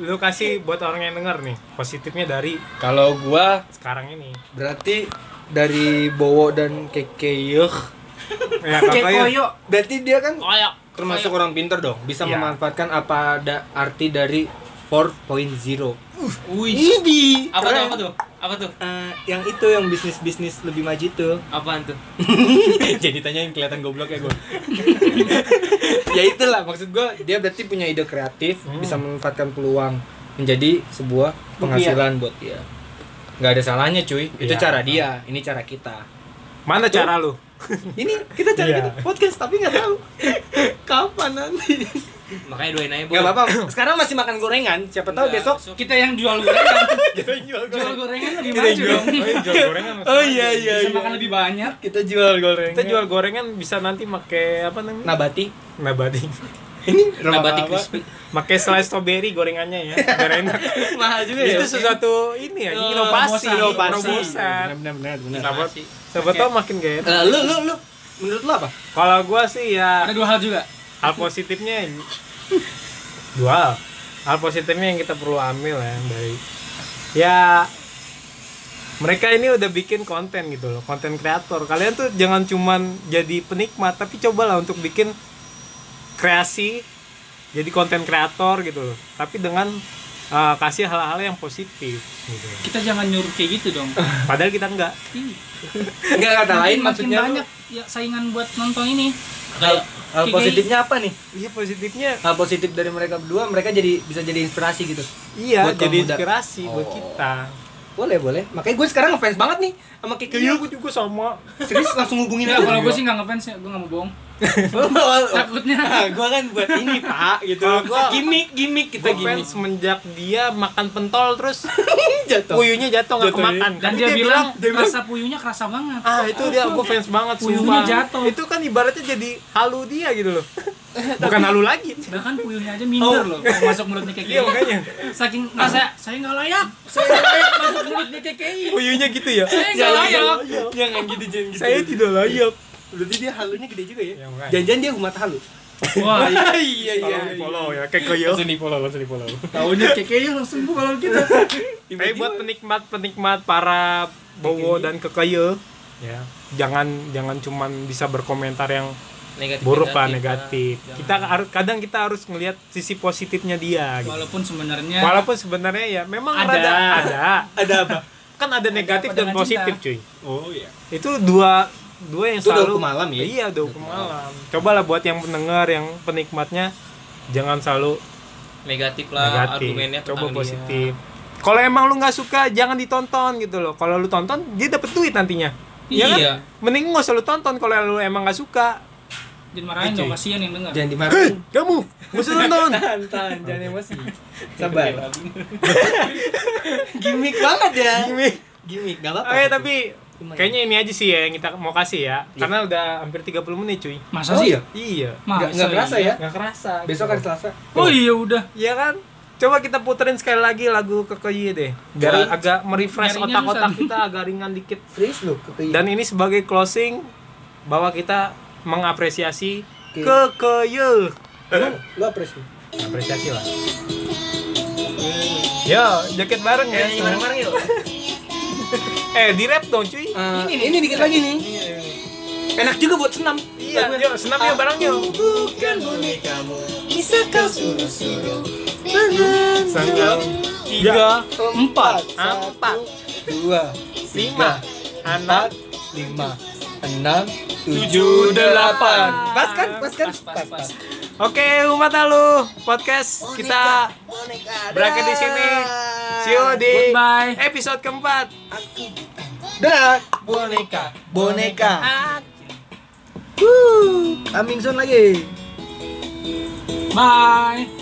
Speaker 1: lu kasih buat orang yang denger nih? Positifnya dari
Speaker 2: Kalau gua
Speaker 1: sekarang ini.
Speaker 2: berarti dari Bowo dan Kekeyeh
Speaker 1: Ya, Kekeyu.
Speaker 2: berarti dia kan
Speaker 5: koyok
Speaker 2: termasuk orang pinter dong bisa
Speaker 1: Iya.
Speaker 2: memanfaatkan apa ada arti dari 4.0
Speaker 5: wih
Speaker 2: Idi
Speaker 5: apa tuh apa tuh apa tuh
Speaker 2: Eh, yang itu yang bisnis bisnis lebih maju tuh
Speaker 5: apaan tuh
Speaker 2: jadi tanya yang kelihatan goblok ya gue ya itulah maksud gue dia berarti punya ide kreatif
Speaker 5: Hmm.
Speaker 2: bisa memanfaatkan peluang menjadi sebuah penghasilan buat dia nggak ada salahnya cuy itu
Speaker 1: Iya.
Speaker 2: cara dia ini cara kita
Speaker 1: Mana cara lu?
Speaker 2: ini kita cara
Speaker 1: Iya.
Speaker 2: kita podcast tapi nggak tahu kapan nanti
Speaker 5: makanya doain aja Boy.
Speaker 2: nggak apa-apa sekarang masih makan gorengan siapa tahu
Speaker 4: Iya.
Speaker 5: Nggak,
Speaker 2: besok
Speaker 5: besok.
Speaker 4: kita yang jual gorengan
Speaker 2: kita jual
Speaker 4: jual gorengan lebih
Speaker 2: Kita
Speaker 4: maju
Speaker 2: jual.
Speaker 4: dong
Speaker 1: Oh, iya, jual gorengan.
Speaker 2: oh iya iya
Speaker 4: bisa
Speaker 2: iya.
Speaker 4: makan lebih banyak
Speaker 2: kita jual gorengan
Speaker 1: Kita jual gorengan bisa nanti make apa namanya?
Speaker 2: nabati
Speaker 1: Nabati.
Speaker 2: ini
Speaker 5: nabati
Speaker 2: apa-apa.
Speaker 5: crispy
Speaker 1: Make slice strawberry gorengannya ya, biar enak.
Speaker 2: mahal juga ya Oh,
Speaker 1: Itu sesuatu ini ya,
Speaker 4: Eh,
Speaker 1: inovasi,
Speaker 4: terobosan.
Speaker 1: terobosan.
Speaker 2: benar benar benar
Speaker 1: Siapa,
Speaker 5: Inovasi.
Speaker 1: siapa tau makin gaya.
Speaker 2: Eh, lu lu lu menurut lu apa
Speaker 1: Kalau gua sih ya
Speaker 4: ada dua hal juga
Speaker 1: hal positifnya dua hal. hal positifnya yang kita perlu ambil ya dari ya mereka ini udah bikin konten gitu loh konten kreator kalian tuh jangan cuman jadi penikmat tapi cobalah untuk bikin kreasi jadi konten kreator gitu loh tapi dengan eh, kasih hal-hal yang positif gitu
Speaker 4: kita jangan nyuruh kayak gitu dong
Speaker 1: padahal kita enggak
Speaker 4: Ih,
Speaker 2: enggak kata
Speaker 4: makin-
Speaker 2: lain
Speaker 4: Iya. makin
Speaker 2: maksudnya lu-
Speaker 4: banyak ya saingan buat nonton ini
Speaker 5: kayak
Speaker 2: Hal
Speaker 4: Kayak-
Speaker 2: positifnya apa nih?
Speaker 1: Iya positifnya
Speaker 2: Hal positif dari mereka berdua, mereka jadi bisa jadi inspirasi gitu.
Speaker 1: iya
Speaker 2: Buat kaum
Speaker 1: jadi
Speaker 2: muda.
Speaker 1: inspirasi buat
Speaker 2: Oh.
Speaker 1: kita.
Speaker 2: Boleh, boleh. Makanya gue sekarang ngefans banget nih sama Kiki.
Speaker 1: Kayak gue juga sama.
Speaker 2: Serius langsung hubungin
Speaker 4: Ya,
Speaker 2: aja.
Speaker 4: kalau gue sih nggak ngefans ya, gue nggak mau bohong.
Speaker 2: Oh.
Speaker 4: Takutnya.
Speaker 2: gue kan buat ini, Pak, gitu.
Speaker 1: Kalau gua-
Speaker 2: Gimik, gimik kita
Speaker 1: Gue
Speaker 2: gimik.
Speaker 1: fans semenjak dia makan pentol terus
Speaker 2: Jatuh.
Speaker 1: puyuhnya jatuh
Speaker 2: Jatuh, ya.
Speaker 1: nggak kemakan. Kan
Speaker 4: Dan
Speaker 1: Tapi
Speaker 4: dia bilang
Speaker 2: dia bilang-
Speaker 4: rasa puyuhnya kerasa banget.
Speaker 1: ah itu dia gue fans banget
Speaker 4: Puyuhnya
Speaker 1: sumpah.
Speaker 4: jatuh.
Speaker 1: Itu kan ibaratnya jadi halu dia gitu loh. Bukan halu lagi.
Speaker 4: Bahkan kan, puyuhnya aja minder
Speaker 1: Oh.
Speaker 4: loh kalau masuk mulutnya KKI.
Speaker 1: Iya makanya.
Speaker 4: Saking nggak saya saya nggak layak. Saya nggak layak masuk mulutnya KKI.
Speaker 2: Iya,
Speaker 1: Puyuhnya gitu ya.
Speaker 4: Saya nggak layak.
Speaker 2: Jangan gitu, jangan gitu.
Speaker 1: Saya tidak layak.
Speaker 2: Berarti dia halunya gede juga ya?
Speaker 1: Ya, makanya.
Speaker 2: Jangan-jangan dia umat halu.
Speaker 4: Wah,
Speaker 2: iya,
Speaker 1: Tolong di follow ya kayak koyo.
Speaker 2: di follow, langsung di follow.
Speaker 4: tahunya KKI langsung bu kalau gitu. kita.
Speaker 1: Tapi buat penikmat penikmat para bowo dan kekoyo ya jangan jangan cuman bisa berkomentar yang
Speaker 5: negatif
Speaker 1: buruk lah negatif. Kita harus kadang kita harus ngelihat sisi positifnya dia. Gitu.
Speaker 4: Walaupun sebenarnya
Speaker 1: Walaupun sebenarnya ya memang
Speaker 4: Iya. Ada.
Speaker 1: rada ada
Speaker 2: Ada apa?
Speaker 1: kan ada negatif dan
Speaker 4: dengan
Speaker 1: positif
Speaker 4: cinta.
Speaker 1: cuy.
Speaker 2: Oh iya.
Speaker 1: Itu dua dua yang
Speaker 2: Itu dua
Speaker 1: selalu
Speaker 2: hukum alam ya?
Speaker 1: Iya dua hukum alam. Cobalah buat yang pendengar yang penikmatnya jangan selalu
Speaker 5: negatif lah
Speaker 1: negatif.
Speaker 5: argumennya
Speaker 1: Coba
Speaker 5: tentang dia.
Speaker 1: positif. Kalau emang lu nggak suka jangan ditonton gitu loh. Kalau lu tonton dia dapet duit nantinya. Iya kan?
Speaker 5: Iya.
Speaker 1: Mending nggak usah lu tonton kalau lu emang nggak suka.
Speaker 4: jangan marahin dong kasihan yang dengar.
Speaker 2: Jangan dimarahin.
Speaker 1: Kamu nggak usah tonton.
Speaker 2: Tahan, jangan emosi. Sabar. Gimik banget ya. Gimik. Gimik, gak apa-apa.
Speaker 1: Oke tapi kayaknya ini aja sih ya yang kita mau kasih ya. Karena udah hampir 30 menit cuy.
Speaker 4: Masa
Speaker 2: Oh
Speaker 4: sih? ya?
Speaker 2: iya.
Speaker 1: Iya.
Speaker 4: Masa
Speaker 2: Nggak- nggak kerasa ya?
Speaker 1: Nggak kerasa.
Speaker 2: Besok hari Selasa.
Speaker 4: Oh iya udah.
Speaker 1: Iya kan? Coba kita puterin sekali lagi lagu Kekoye deh. Biar
Speaker 5: Boleh.
Speaker 1: agak merefresh
Speaker 4: Nyarinya
Speaker 1: otak-otak
Speaker 4: susah.
Speaker 1: kita agak ringan dikit.
Speaker 2: Serius lu, Kiki.
Speaker 1: Dan ini sebagai closing bahwa kita mengapresiasi
Speaker 2: Oke.
Speaker 1: Kekoye.
Speaker 2: Emang lu apresi.
Speaker 1: Apresiasi lah. Yo, jaket Hmm. bareng ya.
Speaker 5: Nyanyi bareng-bareng yuk.
Speaker 1: Eh, di rap dong cuy.
Speaker 2: ini nih. Ini dikit lagi nih. Enak juga buat senam.
Speaker 1: Iya, yuk, senam yuk bareng yuk.
Speaker 2: Bukan bonekamu. Bisa kau suruh-suruh. Tangan.
Speaker 1: Tiga,
Speaker 2: Empat.
Speaker 1: Empat.
Speaker 2: Dua.
Speaker 1: lima, anak,
Speaker 2: empat, lima, enam, tujuh, delapan. Pas kan? Pas kan?
Speaker 4: Pas, pas, pas.
Speaker 1: Oke, umat lalu podcast kita berakhir di sini. See you di
Speaker 4: Goodbye.
Speaker 1: episode keempat.
Speaker 2: Dah, boneka, boneka. Wuh, Amin Sun lagi.
Speaker 4: Bye.